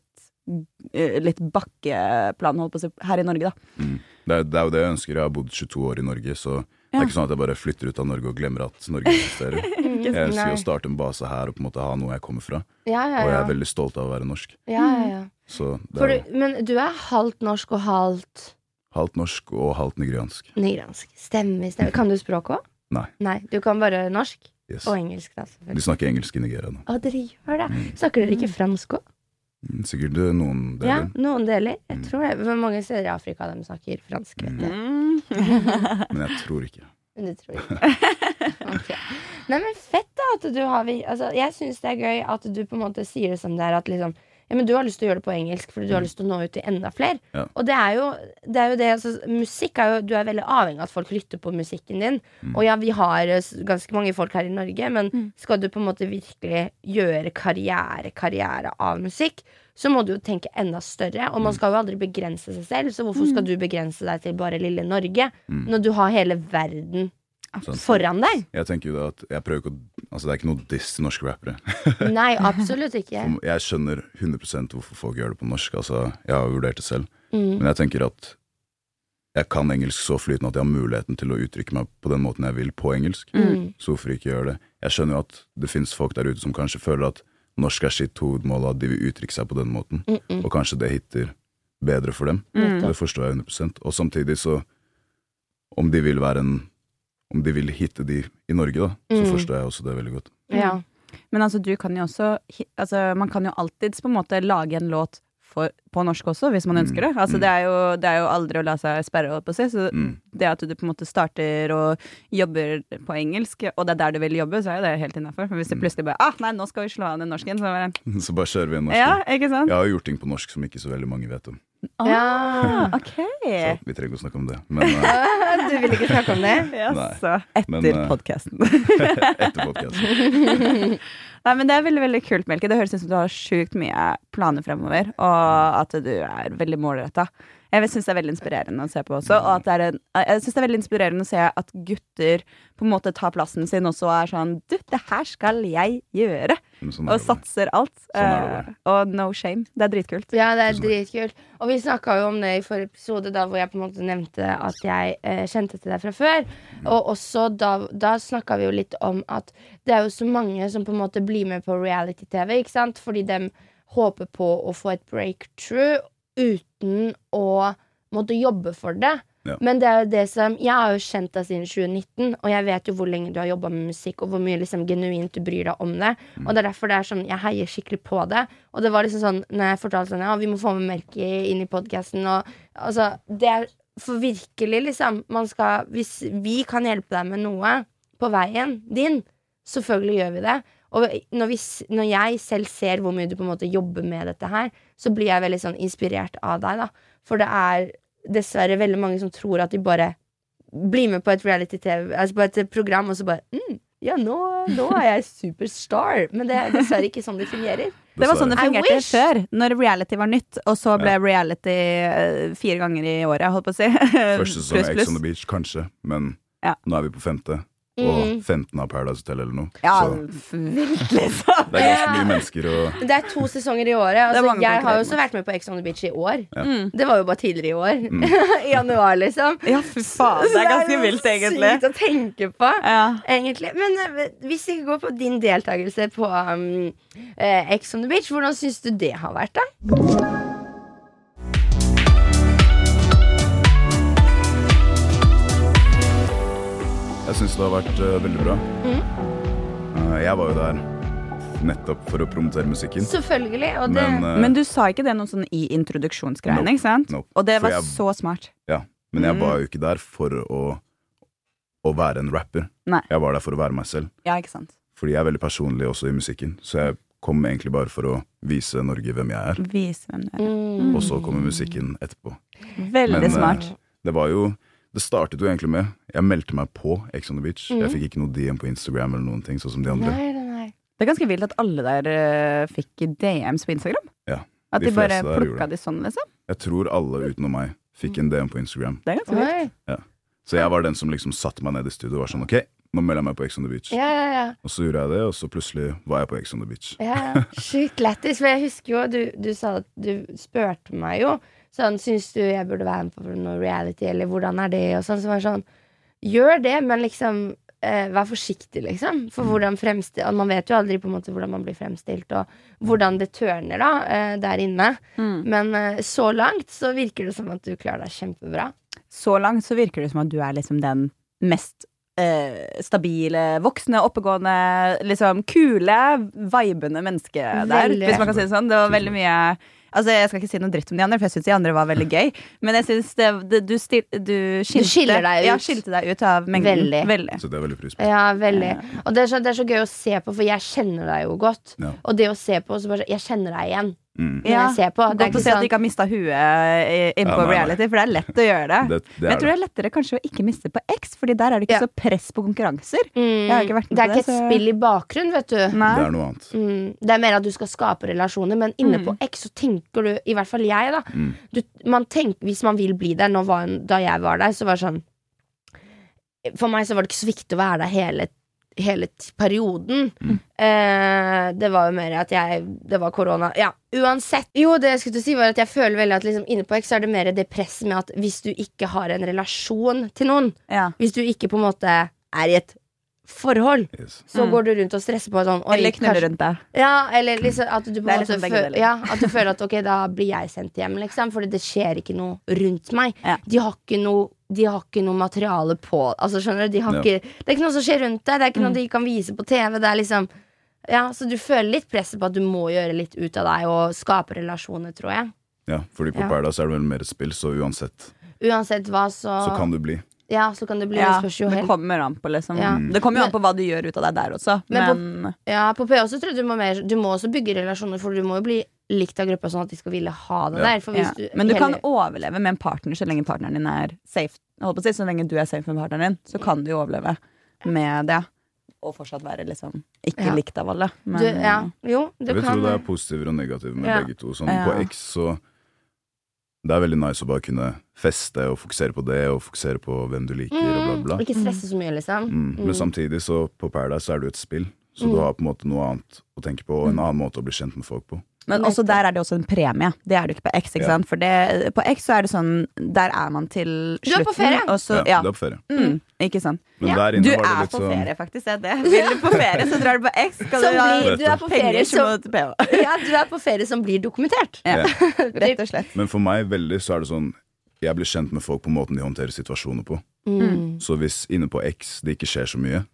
Speaker 2: eh, Litt bakkeplan, holdt på å si, her i Norge, da.
Speaker 3: Mm. Det, er, det er jo det jeg ønsker. Jeg har bodd 22 år i Norge, så det
Speaker 2: Ja.
Speaker 3: er ikke sånn at jeg bare flytter ut av Norge og glemmer at Norge eksisterer.
Speaker 1: <laughs> Mm.
Speaker 3: Jeg ønsker
Speaker 1: Nei.
Speaker 3: jo å starte en base her og på en måte ha noe jeg kommer fra,
Speaker 1: Ja, ja,
Speaker 3: og jeg
Speaker 1: ja.
Speaker 3: er veldig stolt av å være norsk.
Speaker 1: ja, ja, ja.
Speaker 3: Så det
Speaker 1: For
Speaker 3: er
Speaker 1: du, men du er halvt norsk og halvt
Speaker 3: halvt norsk og halvt nigeriansk.
Speaker 1: nigransk. Stemmer. stemmer. Kan du språket òg?
Speaker 3: Nei.
Speaker 1: Nei. Du kan bare norsk
Speaker 3: Yes.
Speaker 1: og engelsk, da, selvfølgelig.
Speaker 3: De snakker engelsk i Nigeria nå.
Speaker 1: Å, dere gjør det. Snakker dere ikke fransk òg?
Speaker 3: Mm, Sikkert eh, noen
Speaker 1: Ja,
Speaker 3: deler,
Speaker 1: noen deler. Jeg
Speaker 3: Mm.
Speaker 1: tror det. Hvor mange steder i Afrika de snakker fransk? Vet du?
Speaker 3: men jeg tror ikke.
Speaker 1: Men det tror jeg ikke. Ok. Nei, men fett da at du har vi- altså, Jeg syns det er gøy at du på en måte sier det som det er. At liksom ja, men Du har lyst til å gjøre det på engelsk fordi du har lyst til å nå ut til enda flere.
Speaker 3: Ja.
Speaker 1: Og det er jo det. Er jo det altså, musikk er jo Du er veldig avhengig av at folk lytter på musikken din. Og ja, vi har eh, s- ganske mange folk her i Norge, men skal du på en måte virkelig gjøre karriere, karriere av musikk, så må du jo tenke enda større. Og man skal jo aldri begrense seg selv, så hvorfor skal du begrense deg til bare lille Norge
Speaker 3: Mm.
Speaker 1: når du har hele verden
Speaker 3: Sant.
Speaker 1: foran deg?
Speaker 3: Jeg tenker jo da at jeg prøver ikke å Altså, det er ikke noe diss til norske rappere.
Speaker 1: Nei, absolutt
Speaker 3: <laughs>
Speaker 1: ikke.
Speaker 3: Jeg skjønner 100 hvorfor folk gjør det på norsk. Altså, jeg har jo vurdert det selv.
Speaker 1: Mm.
Speaker 3: Men jeg tenker at jeg kan engelsk så flytende at jeg har muligheten til å uttrykke meg på den måten jeg vil på engelsk.
Speaker 1: Mm.
Speaker 3: Så hvorfor ikke gjøre det? Jeg skjønner jo at det fins folk der ute som kanskje føler at norsk er sitt hovedmål, og at de vil uttrykke seg på den måten.
Speaker 1: Mm -mm.
Speaker 3: Og kanskje det hitter bedre for dem.
Speaker 2: Mm.
Speaker 3: Det forstår jeg 100 Og samtidig så Om de vil være en Om de vil hitte de i Norge, da, så
Speaker 1: Mm.
Speaker 3: forstår jeg også det veldig godt.
Speaker 1: Ja.
Speaker 2: Men altså, du kan jo også hi- altså, Man kan jo alltids på en måte lage en låt for, på norsk også, hvis
Speaker 3: Mm,
Speaker 2: man ønsker det. Altså, det, er jo, det er jo aldri å la seg sperre, holdt på å si. Så
Speaker 3: Mm. <laughs>
Speaker 2: det at du på en måte starter og jobber på engelsk, og det er der du vil jobbe, så er jo det helt innafor. Men hvis
Speaker 3: Mm.
Speaker 2: det plutselig bare Ah, nei, nå skal vi slå av den norsken. Så bare
Speaker 3: Så bare kjører vi en norsk.
Speaker 2: Ja, ikke sant?
Speaker 3: Jeg har jo gjort ting på norsk som ikke så veldig mange vet om.
Speaker 2: Ah, ok.
Speaker 3: Så vi trenger ikke å snakke om det. Men
Speaker 2: <laughs>
Speaker 3: eh,
Speaker 1: Du vil ikke snakke om det?
Speaker 2: Jaså.
Speaker 3: Men,
Speaker 2: Etter
Speaker 3: eh,
Speaker 2: podkasten.
Speaker 3: etter podkasten.
Speaker 2: Nei, men Det er veldig veldig kult, Melke. Det høres ut som du har sjukt mye planer fremover.
Speaker 3: Mm.
Speaker 2: Og at du er veldig målretta. Jeg syns det er veldig inspirerende å se på også. Og at det er en, jeg synes det er veldig inspirerende å se at gutter på en måte tar plassen sin også og er sånn Du, det her skal jeg gjøre!
Speaker 3: Sånn
Speaker 2: Og
Speaker 3: er det bare.
Speaker 2: satser alt.
Speaker 3: Sånn er det
Speaker 2: Eh, og no shame. Det er dritkult.
Speaker 1: Ja, det er
Speaker 3: Tusen
Speaker 1: dritkult. Og vi snakka jo om det i forrige episode, da hvor jeg på en måte nevnte at jeg eh, kjente til deg fra før. Og også da, da snakka vi jo litt om at det er jo så mange som på en måte blir med på reality-TV, ikke sant? Fordi de håper på å få et breakthrough uten å måtte jobbe for det.
Speaker 3: Ja.
Speaker 1: Men det er jo det som Jeg har jo kjent deg siden 2019, og jeg vet jo hvor lenge du har jobba med musikk, og hvor mye liksom genuint du bryr deg om det.
Speaker 3: Mm.
Speaker 1: Og det er derfor det er sånn jeg heier skikkelig på det. Og det var liksom sånn når jeg fortalte sånn Ja, vi må få med Melky inn i podkasten, og altså Det er for virkelig, liksom. Man skal Hvis vi kan hjelpe deg med noe på veien din, selvfølgelig gjør vi det. Og når, vi, s- når jeg selv ser hvor mye du på en måte jobber med dette her, så blir jeg veldig sånn inspirert av deg, da. For det er dessverre veldig mange som tror at de bare blir med på et reality-TV, altså på et program, og så bare mm, Ja, nå, nå er jeg superstar. Men det er dessverre ikke sånn det fungerer.
Speaker 2: Det var sånn det
Speaker 1: I
Speaker 2: fungerte
Speaker 1: wish.
Speaker 2: før, når reality var nytt. Og så ble reality eh, fire ganger i året, holdt på å si.
Speaker 3: Første sesong av Ex on the Beach, kanskje, men
Speaker 2: Ja.
Speaker 3: nå er vi på femte.
Speaker 1: Mm.
Speaker 3: og 15 av Paradise Hotel eller noe.
Speaker 2: Ja,
Speaker 3: Så
Speaker 2: virkelig sånn.
Speaker 3: det er ganske mye mennesker og
Speaker 1: Det er to sesonger i året. Altså,
Speaker 2: mange
Speaker 1: jeg har jo
Speaker 2: konkurrenter.
Speaker 1: også vært med på Ex on the Beach i år. Det var jo bare tidligere i år. <laughs> I januar, liksom.
Speaker 2: <laughs> Ja, fy faen. Det Mm. er ganske vilt, egentlig.
Speaker 1: Sykt å tenke på.
Speaker 2: Ja.
Speaker 1: Egentlig. Men eh, hvis vi går på din deltakelse på um, eh, Ex on the Beach, hvordan syns du det har vært, da?
Speaker 2: Mm.
Speaker 3: Jeg syns det har vært eh, veldig bra.
Speaker 1: Mm.
Speaker 3: Eh, jeg var jo der nettopp for å promotere musikken,
Speaker 1: Selvfølgelig. Og det,
Speaker 3: men, eh,
Speaker 2: Men du sa ikke det noe sånn i introduksjonsgreiene,
Speaker 3: Nope,
Speaker 2: ikke sant?
Speaker 3: nope.
Speaker 2: Og det
Speaker 3: For
Speaker 2: var
Speaker 3: jeg-
Speaker 2: så smart.
Speaker 3: ja, men
Speaker 1: Mm.
Speaker 3: jeg var jo ikke der for å, å være en rapper.
Speaker 2: Nei.
Speaker 3: Jeg var der for å være meg selv,
Speaker 2: Ja, ikke sant?
Speaker 3: fordi jeg er veldig personlig også i musikken. Så jeg kom egentlig bare for å vise Norge hvem jeg er,
Speaker 2: Vise hvem du er.
Speaker 1: mm,
Speaker 3: og så kommer musikken etterpå.
Speaker 2: Veldig
Speaker 3: Men, eh,
Speaker 2: smart.
Speaker 3: Det var jo Det startet jo egentlig med Jeg meldte meg på Ex on the Beach. Jeg fikk ikke noe DM på Instagram eller noen ting, sånn som de andre.
Speaker 1: nei, nei, nei.
Speaker 2: Det er ganske vilt at alle der eh, fikk DMs på Instagram.
Speaker 3: Ja,
Speaker 2: At
Speaker 3: de
Speaker 2: de, bare
Speaker 3: fleste der gjorde
Speaker 2: plukka de sånn, liksom.
Speaker 3: Jeg tror alle utenom meg fikk en DM på Instagram.
Speaker 2: Det er ganske vilt.
Speaker 1: Oi.
Speaker 3: Så jeg var den som liksom satte meg ned i studio og var sånn OK, nå melder jeg meg på Ex on the Beach.
Speaker 1: Ja, ja, ja.
Speaker 3: Og så gjorde jeg det, og så plutselig var jeg på Ex on the Beach.
Speaker 1: Ja, Sjukt lættis. For jeg husker jo du, du sa at du spurte meg jo sånn Syns du jeg burde være med på noe reality, eller hvordan er det, og sånn. Så var jeg sånn Gjør det, men liksom eh, vær forsiktig, liksom.
Speaker 2: Mm.
Speaker 1: For hvordan fremstilt Man vet jo aldri på en måte hvordan man blir fremstilt, og hvordan det tørner da eh, der inne.
Speaker 2: Mm.
Speaker 1: Men eh, så langt så virker det som at du klarer deg kjempebra.
Speaker 2: Så langt så virker det som at du er liksom den mest eh, stabile, voksne, oppegående, liksom kule, vibende menneske der.
Speaker 1: Veldig.
Speaker 2: Hvis man kan si det sånn. Det var veldig mye Altså, Jeg skal ikke si noe dritt om de andre, for jeg syns de andre var veldig gøy. Men jeg syns det, det, du, stil, du, skilte,
Speaker 1: skiller deg ut.
Speaker 2: Ja, skilte deg ut av mengden.
Speaker 1: Veldig.
Speaker 3: Så det er veldig pris på.
Speaker 1: Ja, veldig. Og det er, så, det er så gøy å se på, for jeg kjenner deg jo godt.
Speaker 3: Ja.
Speaker 1: Og det å se på, så bare sånn, Jeg kjenner deg igjen.
Speaker 3: Mm.
Speaker 1: Når jeg ser på. Det er
Speaker 2: Godt å
Speaker 1: ikke
Speaker 2: se at
Speaker 1: sånn-
Speaker 2: du ikke har mista huet eh,
Speaker 3: Ja,
Speaker 2: innpå
Speaker 3: nei, nei.
Speaker 2: reality, for det er lett å gjøre det. Men
Speaker 3: Det, det
Speaker 2: jeg tror
Speaker 3: er
Speaker 2: det
Speaker 3: det.
Speaker 2: er lettere kanskje å ikke miste på X, Fordi der er det ikke
Speaker 1: Ja.
Speaker 2: så press på konkurranser.
Speaker 1: Mm.
Speaker 2: Jeg har ikke vært med
Speaker 1: det er
Speaker 2: på
Speaker 1: ikke
Speaker 2: det,
Speaker 1: et
Speaker 2: så-
Speaker 1: spill i bakgrunnen, vet du.
Speaker 2: Nei.
Speaker 3: Det er noe annet.
Speaker 1: Mm. Det er mer at du skal skape relasjoner, men inne
Speaker 2: Mm.
Speaker 1: på X så tenker du, i hvert fall jeg, da
Speaker 3: Mm.
Speaker 1: du, man tenk, Hvis man vil bli der, nå var, da jeg var der, så var det sånn For meg så var det ikke så viktig å være der hele, hele t- perioden.
Speaker 2: Mm.
Speaker 1: Eh, det var jo mer at jeg Det var korona. Ja, uansett. Jo, det jeg skulle til å si, var at jeg føler veldig at liksom, inne på X så er det mer det presset med at hvis du ikke har en relasjon til noen,
Speaker 2: Ja.
Speaker 1: hvis du ikke på en måte er i et forhold,
Speaker 3: Yes.
Speaker 1: så
Speaker 2: Mm.
Speaker 1: går du rundt og stresser på sånn oi,
Speaker 2: Eller knulle
Speaker 1: kanskje-
Speaker 2: rundt deg.
Speaker 1: Ja, eller liksom at du på
Speaker 2: Det
Speaker 1: en
Speaker 2: er
Speaker 1: måte
Speaker 2: liksom begge
Speaker 1: føler,
Speaker 2: deler.
Speaker 1: ja, at du føler at ok, da blir jeg sendt hjem, liksom. Fordi det skjer ikke noe rundt meg.
Speaker 2: Ja.
Speaker 1: De har ikke noe de har ikke noe materiale på Altså skjønner du de har
Speaker 3: Ja.
Speaker 1: ikke, Det er ikke noe som skjer rundt deg. Det er
Speaker 2: Mm.
Speaker 1: ikke noe de kan vise på TV. Det er liksom ja, Så du føler litt presset på at du må gjøre litt ut av deg og skape relasjoner, tror jeg.
Speaker 3: Ja, fordi på
Speaker 1: Ja.
Speaker 3: Paradise er det vel mer et spill, så uansett
Speaker 1: Uansett hva, så,
Speaker 3: så kan du bli.
Speaker 1: Ja, så kan det bli.
Speaker 2: Ja,
Speaker 1: det spørs jo
Speaker 2: det
Speaker 1: helt
Speaker 2: kommer an på liksom
Speaker 1: Ja.
Speaker 3: Mm.
Speaker 2: Det kommer jo an
Speaker 1: Men-
Speaker 2: på hva du gjør ut av deg der også.
Speaker 1: Men
Speaker 2: Men,
Speaker 1: på- Ja, på PH så tror jeg du må mer Du må også bygge relasjoner, for du må jo bli likt av gruppa, sånn at de skal ville ha deg
Speaker 3: Ja.
Speaker 1: der. For
Speaker 2: ja.
Speaker 1: hvis du,
Speaker 2: men du kan
Speaker 1: heller-
Speaker 2: overleve med en partner så lenge partneren din er safe. Holdt på å si, så lenge du er safe med partneren din, så kan du jo overleve med det. Og fortsatt være liksom ikke
Speaker 1: Ja.
Speaker 2: likt av alle. Men, eh,
Speaker 1: du, ja. Jo, du
Speaker 3: Jeg vil
Speaker 1: kan eh,
Speaker 3: tro det er positiver og negativer med
Speaker 2: Ja.
Speaker 3: begge to. Sånn,
Speaker 2: Ja.
Speaker 3: På X så Det er veldig nice å bare kunne feste og fokusere på det, og fokusere på hvem du liker, og bla, bla.
Speaker 1: Mm, Ikke stresse så mye, liksom.
Speaker 3: Mm. Men samtidig så på Paradise så er det jo et spill, så
Speaker 2: Mm.
Speaker 3: du har på en måte noe annet å tenke på, og en annen måte å bli kjent med folk på.
Speaker 2: Men også der er det også en premie. Det er det ikke på X. ikke
Speaker 3: Ja.
Speaker 2: sant? For det, på X så er det sånn Der er man til
Speaker 1: Du er
Speaker 2: slutten.
Speaker 1: på ferie.
Speaker 2: Og så,
Speaker 3: ja,
Speaker 2: ja.
Speaker 3: Du er på ferie.
Speaker 2: Mm, ikke sant.
Speaker 3: Men
Speaker 1: Ja.
Speaker 3: der
Speaker 2: Du
Speaker 3: inne
Speaker 2: er
Speaker 3: var det litt
Speaker 2: på
Speaker 3: sånn
Speaker 2: ferie, faktisk. Det er det. Vil du på ferie, så drar du på
Speaker 1: <laughs>
Speaker 2: X. Skal
Speaker 1: Som
Speaker 2: du ha
Speaker 1: blir, du er på ferie
Speaker 2: penger, så
Speaker 1: som
Speaker 2: må du til PH.
Speaker 1: <laughs> ja, du er på ferie som blir dokumentert.
Speaker 2: Ja.
Speaker 3: Ja.
Speaker 2: Rett og slett.
Speaker 3: Men for meg veldig så er det sånn Jeg blir kjent med folk på måten de håndterer situasjoner på.
Speaker 1: Mm.
Speaker 3: Så hvis inne på X det ikke skjer så mye,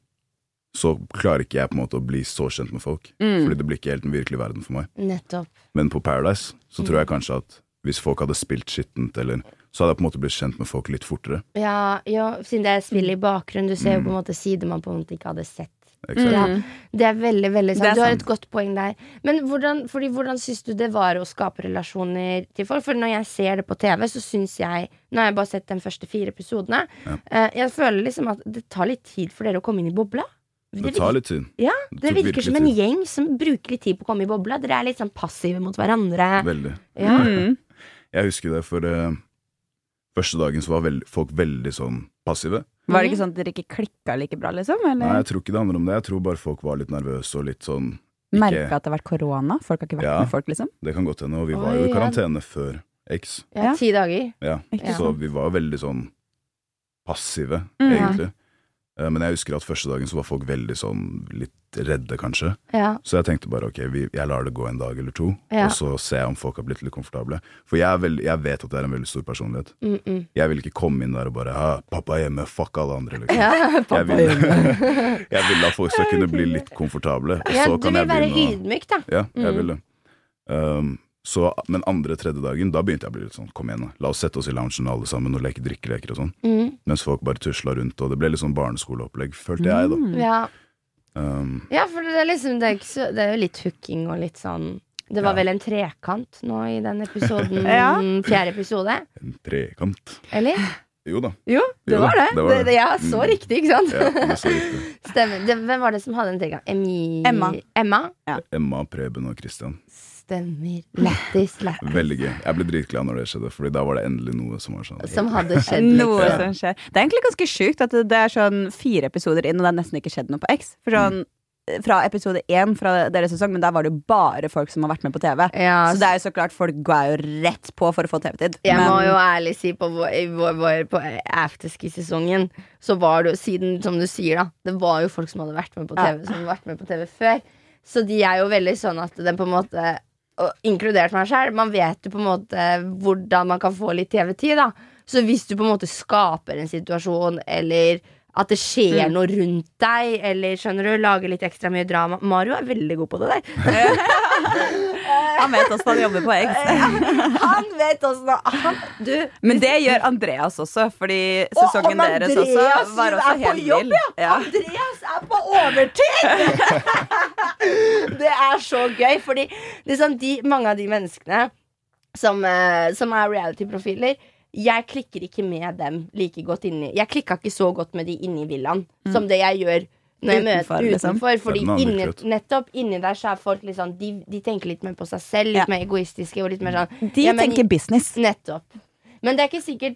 Speaker 3: så klarer ikke jeg på en måte å bli så kjent med folk.
Speaker 2: Mm.
Speaker 3: Fordi det blir ikke helt den virkelige verden for meg.
Speaker 1: Nettopp.
Speaker 3: Men på Paradise så tror jeg
Speaker 1: Mm.
Speaker 3: kanskje at hvis folk hadde spilt skittent, eller så hadde jeg på en måte blitt kjent med folk litt fortere.
Speaker 1: Ja, ja, siden det er spill i bakgrunnen. Du
Speaker 3: Mm.
Speaker 1: ser jo på en måte sider man på en måte ikke hadde sett.
Speaker 3: Ikke sant?
Speaker 1: Mm. Ja, det er veldig, veldig sant.
Speaker 2: Det er
Speaker 1: Du har
Speaker 2: sant.
Speaker 1: et godt poeng der. Men hvordan, fordi, hvordan syns du det var å skape relasjoner til folk? For når jeg ser det på TV, så syns jeg Nå har jeg bare sett de første fire episodene. eh, Jeg føler liksom at det tar litt tid for dere å komme inn i bobla.
Speaker 3: Det tar litt tid.
Speaker 1: Ja,
Speaker 3: Det
Speaker 1: det
Speaker 3: tok
Speaker 1: virker
Speaker 3: virkelig
Speaker 1: som en
Speaker 3: tid.
Speaker 1: gjeng som bruker litt tid på å komme i bobla. Dere er litt sånn passive mot hverandre.
Speaker 3: Veldig.
Speaker 1: Ja.
Speaker 2: Mm.
Speaker 3: Jeg husker det, for eh, første dagen så var veld, folk veldig sånn passive.
Speaker 2: Var det
Speaker 1: Mm.
Speaker 2: ikke sånn at dere ikke klikka like bra, liksom?
Speaker 3: Nei,
Speaker 2: Eller
Speaker 3: jeg tror ikke det handler om det. Jeg tror bare folk var litt nervøse og litt sånn ikke-
Speaker 2: merka at det har vært korona? Folk har ikke vært
Speaker 3: Ja.
Speaker 2: med folk, liksom?
Speaker 3: Det kan godt hende. Og vi var jo
Speaker 1: Oi,
Speaker 3: i
Speaker 1: ja.
Speaker 3: karantene før X.
Speaker 1: Ja,
Speaker 2: Ja.
Speaker 1: ti dager.
Speaker 3: Ja,
Speaker 2: Ikke
Speaker 3: så vi var veldig sånn passive,
Speaker 2: Mm.
Speaker 3: egentlig. Eh, Men jeg husker at første dagen så var folk veldig sånn litt redde, kanskje.
Speaker 1: Ja.
Speaker 3: Så jeg tenkte bare ok, vi, jeg lar det gå en dag eller to,
Speaker 1: Ja.
Speaker 3: og så ser jeg om folk har blitt litt komfortable. For jeg, er veld, jeg vet at jeg er en veldig stor personlighet.
Speaker 1: Mm
Speaker 3: <laughs>
Speaker 1: -mm.
Speaker 3: Jeg vil ikke komme inn der og bare «Ah, 'pappa er hjemme, fuck alle andre', liksom.
Speaker 1: ja.
Speaker 3: jeg, vil, <laughs> jeg vil at folk skal kunne bli litt komfortable, og
Speaker 1: ja
Speaker 3: så
Speaker 1: du vil
Speaker 3: kan jeg
Speaker 1: være
Speaker 3: begynne å
Speaker 1: ydmyk, da.
Speaker 3: Ja, jeg
Speaker 1: Mm.
Speaker 3: vil det. Um, så, men andre, tredje dagen, da begynte jeg å bli litt sånn 'kom igjen, da. la oss sette oss i loungen alle sammen og leke drikkeleker' og sånn.
Speaker 1: Mm.
Speaker 3: Mens folk bare tusla rundt, og det ble litt sånn barneskoleopplegg, følte jeg, da.
Speaker 2: Mm.
Speaker 1: Ja.
Speaker 3: Um,
Speaker 1: ja, for det er liksom Det er, ikke så, det er jo litt hooking og litt sånn Det var
Speaker 3: Ja.
Speaker 1: vel en trekant nå i den episoden.
Speaker 2: Ja.
Speaker 1: Fjerde episode,
Speaker 3: en trekant.
Speaker 1: eller?
Speaker 3: Jo da.
Speaker 1: Jo, det
Speaker 3: Jo,
Speaker 1: var det.
Speaker 3: det var det.
Speaker 1: Det- Ja, så
Speaker 3: Mm.
Speaker 1: riktig, ikke sant?
Speaker 3: Ja, det så riktig.
Speaker 1: <laughs> Stemmer. Det, hvem var det som hadde en trekant? Emi...
Speaker 2: Emma.
Speaker 1: Emma?
Speaker 3: Emma, Preben og Christian.
Speaker 1: Stemmer. Lættis,
Speaker 3: <laughs>
Speaker 1: lættis.
Speaker 3: Veldig gøy. Jeg ble dritglad når det skjedde, Fordi da var det endelig noe som var sånn.
Speaker 1: Som hadde skjedd litt.
Speaker 2: Noe
Speaker 3: Ja.
Speaker 2: som skjer. Det er egentlig ganske sjukt at det er sånn fire episoder inn, og det er nesten ikke skjedd noe på X. For sånn, fra episode én fra deres sesong, men der var det jo bare folk som har vært med på TV.
Speaker 1: Ja,
Speaker 2: Så det er jo så klart, folk går jo rett på for å få TV-tid.
Speaker 1: Jeg
Speaker 2: Men-
Speaker 1: må jo ærlig si på, vår, i vår, vår, på afterski-sesongen Så var det jo, siden som du sier da Det var jo folk som hadde vært med på
Speaker 2: Ja.
Speaker 1: TV Som hadde vært med på TV før Så de er jo veldig sånn at den på en måte og Inkludert meg selv Man vet jo på en måte hvordan man kan få litt TV-tid da Så hvis du på en måte skaper en situasjon Eller at det skjer
Speaker 2: Mm.
Speaker 1: noe rundt deg Eller skjønner du, lager litt ekstra mye drama Mario er veldig god på det der
Speaker 2: Han vet hvordan han jobber på X.
Speaker 1: <laughs> Han vet også han, Du,
Speaker 2: Men det gjør Andreas også, fordi sesongen
Speaker 1: om Andreas
Speaker 2: deres også var
Speaker 1: er
Speaker 2: også
Speaker 1: på
Speaker 2: helt
Speaker 1: jobb,
Speaker 2: vill.
Speaker 1: ja. Andreas er på
Speaker 2: <laughs>
Speaker 1: overtid! det er så gøy, fordi liksom de, mange av de menneskene som, eh, som er reality-profiler jeg klikker ikke med dem like godt inni Jeg klikka ikke så godt med de inni villaen som det jeg gjør når jeg
Speaker 2: Mm. Utenfor,
Speaker 1: møter
Speaker 2: liksom.
Speaker 1: utenfor. Fordi
Speaker 3: Det er den andre
Speaker 1: inni,
Speaker 3: krøtt.
Speaker 1: nettopp inni der så er folk litt sånn De, de tenker litt mer på seg selv, litt
Speaker 2: Ja.
Speaker 1: mer egoistiske og litt mer sånn
Speaker 2: De
Speaker 1: ja, men-
Speaker 2: tenker business.
Speaker 1: Nettopp. Men det er ikke sikkert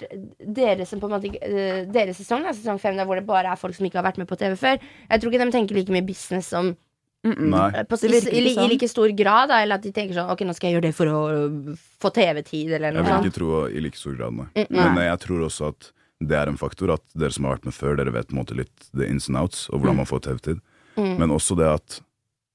Speaker 1: dere som på en måte ikke- øh, Deres sesong, da, sesong fem, da, hvor det bare er folk som ikke har vært med på TV før. Jeg tror ikke de tenker like mye business som
Speaker 3: Nei.
Speaker 1: øh, på,
Speaker 2: Det virker
Speaker 1: i,
Speaker 2: ikke
Speaker 1: i,
Speaker 2: sånn.
Speaker 1: I like stor grad, da, eller at de tenker sånn Ok, nå skal jeg gjøre det for å øh, få TV-tid, eller
Speaker 3: Jeg
Speaker 1: noe
Speaker 3: vil
Speaker 1: sånt.
Speaker 3: ikke tro i like stor grad, nei.
Speaker 1: Mm,
Speaker 3: Men eh, jeg tror også at det er en faktor at dere som har vært med før, dere vet på en måte litt the ins and outs og hvordan man får TV-tid.
Speaker 1: Mm.
Speaker 3: Men også det at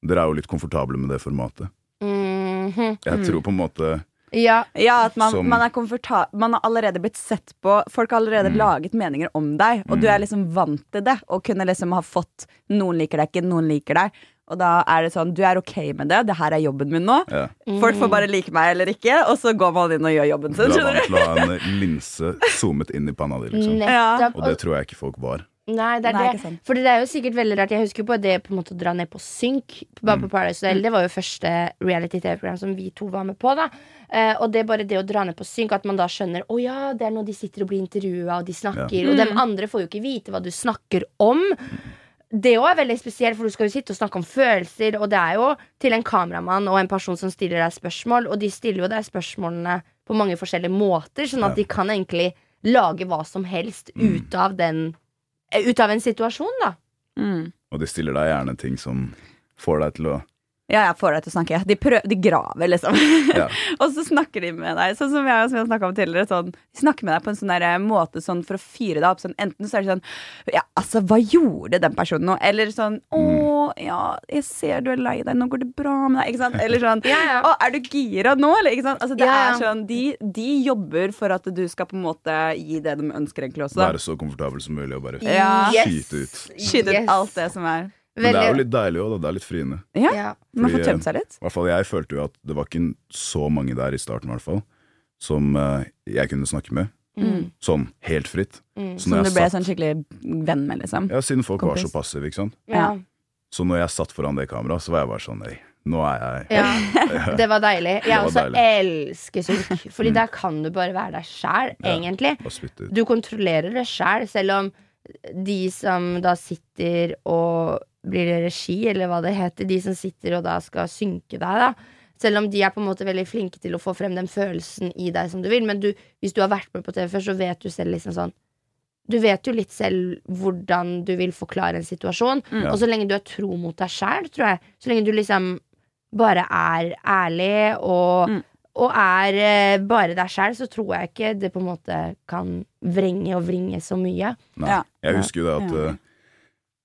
Speaker 3: dere er jo litt komfortable med det formatet.
Speaker 1: Mhm.
Speaker 2: Mm.
Speaker 3: Jeg tror på en måte
Speaker 1: Ja.
Speaker 2: Ja, at man,
Speaker 3: Som-
Speaker 2: man, er komforta- man har allerede blitt sett på. Folk har allerede laget meninger om deg, og du er liksom vant til det. Og kunne liksom ha fått Noen liker deg ikke, noen liker deg. Og da er det sånn, du er ok med det. Det her er jobben min nå.
Speaker 3: ja.
Speaker 2: Folk
Speaker 1: Mm.
Speaker 2: får bare like meg eller ikke, og så går man inn og gjør jobben
Speaker 3: Du
Speaker 2: sin.
Speaker 3: er
Speaker 2: skjønner
Speaker 3: vant
Speaker 2: du?
Speaker 3: til å ha en linse zoomet inn i panna di, liksom.
Speaker 1: Nettopp.
Speaker 3: Og det tror jeg ikke folk var.
Speaker 1: Nei, det er
Speaker 2: Nei,
Speaker 1: det.
Speaker 2: ikke sant.
Speaker 1: Fordi det er jo sikkert veldig rart. Jeg husker jo på det på en måte å dra ned på synk. på- Bare på Paradise Hotel. Det var jo første reality-TV-program som vi to var med på. da eh, Og det er bare det å dra ned på synk, at man da skjønner å ja, det er noe de sitter og blir intervjua, og de snakker. Og
Speaker 3: Mm.
Speaker 1: de andre får jo ikke vite hva du snakker om. Det òg er veldig spesielt, for du skal jo sitte og snakke om følelser, og det er jo til en kameramann og en person som stiller deg spørsmål, og de stiller jo deg spørsmålene på mange forskjellige måter, sånn at
Speaker 3: Ja. Mm.
Speaker 1: de kan egentlig lage hva som helst ut av den eh, ut av en situasjon, da.
Speaker 2: Mm.
Speaker 3: Og de stiller deg gjerne ting som får deg til å
Speaker 2: Ja, jeg får deg til å snakke. De, prøv, de graver, liksom.
Speaker 3: Ja.
Speaker 2: <laughs> og så snakker de med deg, sånn som jeg, som jeg snakket om tidligere. Sånn, de snakker med deg på en sånn der, eh, måte sånn, for å fyre deg opp. Sånn, enten så er det sånn Ja, altså, hva gjorde den personen nå? Eller sånn Å,
Speaker 3: Mm.
Speaker 2: ja, jeg ser du er lei deg. Nå går det bra med deg. Ikke sant? Eller sånn
Speaker 1: <laughs> Ja, ja.
Speaker 2: Å, er du gira nå, eller? Ikke sant? Altså, det
Speaker 1: Ja, ja.
Speaker 2: er sånn de, de jobber for at du skal på en måte gi det de ønsker, egentlig også. da.
Speaker 3: være så komfortabel som mulig og bare
Speaker 2: Ja.
Speaker 3: skyte ut.
Speaker 2: Skyte
Speaker 1: Yes.
Speaker 2: ut alt det som er
Speaker 3: Men det er jo
Speaker 1: Veldig-
Speaker 3: litt deilig òg, da. Det er litt friende.
Speaker 2: Ja.
Speaker 1: ja.
Speaker 2: Man
Speaker 3: Fordi,
Speaker 2: får tømt seg litt.
Speaker 3: I hvert fall jeg følte jo at det var ikke så mange der i starten, i hvert fall, som eh, jeg kunne snakke med.
Speaker 1: Mm.
Speaker 3: Sånn helt fritt. Så
Speaker 2: Som
Speaker 3: når
Speaker 2: du
Speaker 3: jeg
Speaker 2: ble
Speaker 3: satt-
Speaker 2: sånn skikkelig venn med, liksom.
Speaker 3: Ja, siden folk var
Speaker 2: kompis.
Speaker 3: så passive, ikke sant.
Speaker 1: Ja.
Speaker 3: Så når jeg satt foran det kameraet, så var jeg bare sånn Nei, nå er jeg
Speaker 1: ja. Det var deilig.
Speaker 3: Det
Speaker 1: Jeg
Speaker 3: var
Speaker 1: også
Speaker 3: deilig. Mm.
Speaker 1: elsker synk, Fordi der kan du bare være deg sjæl, egentlig.
Speaker 3: Bare spytte ut.
Speaker 1: Du kontrollerer det sjæl, selv om de som da sitter og blir det regi, eller hva det heter, de som sitter og da skal synke deg, da. Selv om de er på en måte veldig flinke til å få frem den følelsen i deg som du vil. Men du, hvis du har vært med på TV før, så vet du selv liksom sånn Du vet jo litt selv hvordan du vil forklare en situasjon.
Speaker 3: Ja.
Speaker 1: Og så lenge du er tro mot deg sjæl, tror jeg, så lenge du liksom bare er ærlig og,
Speaker 2: Mm.
Speaker 1: og er eh, bare deg sjæl, så tror jeg ikke det på en måte kan vrenge og vringe så mye.
Speaker 3: Nei.
Speaker 2: Ja.
Speaker 3: Jeg husker jo det at
Speaker 2: Ja.
Speaker 3: eh,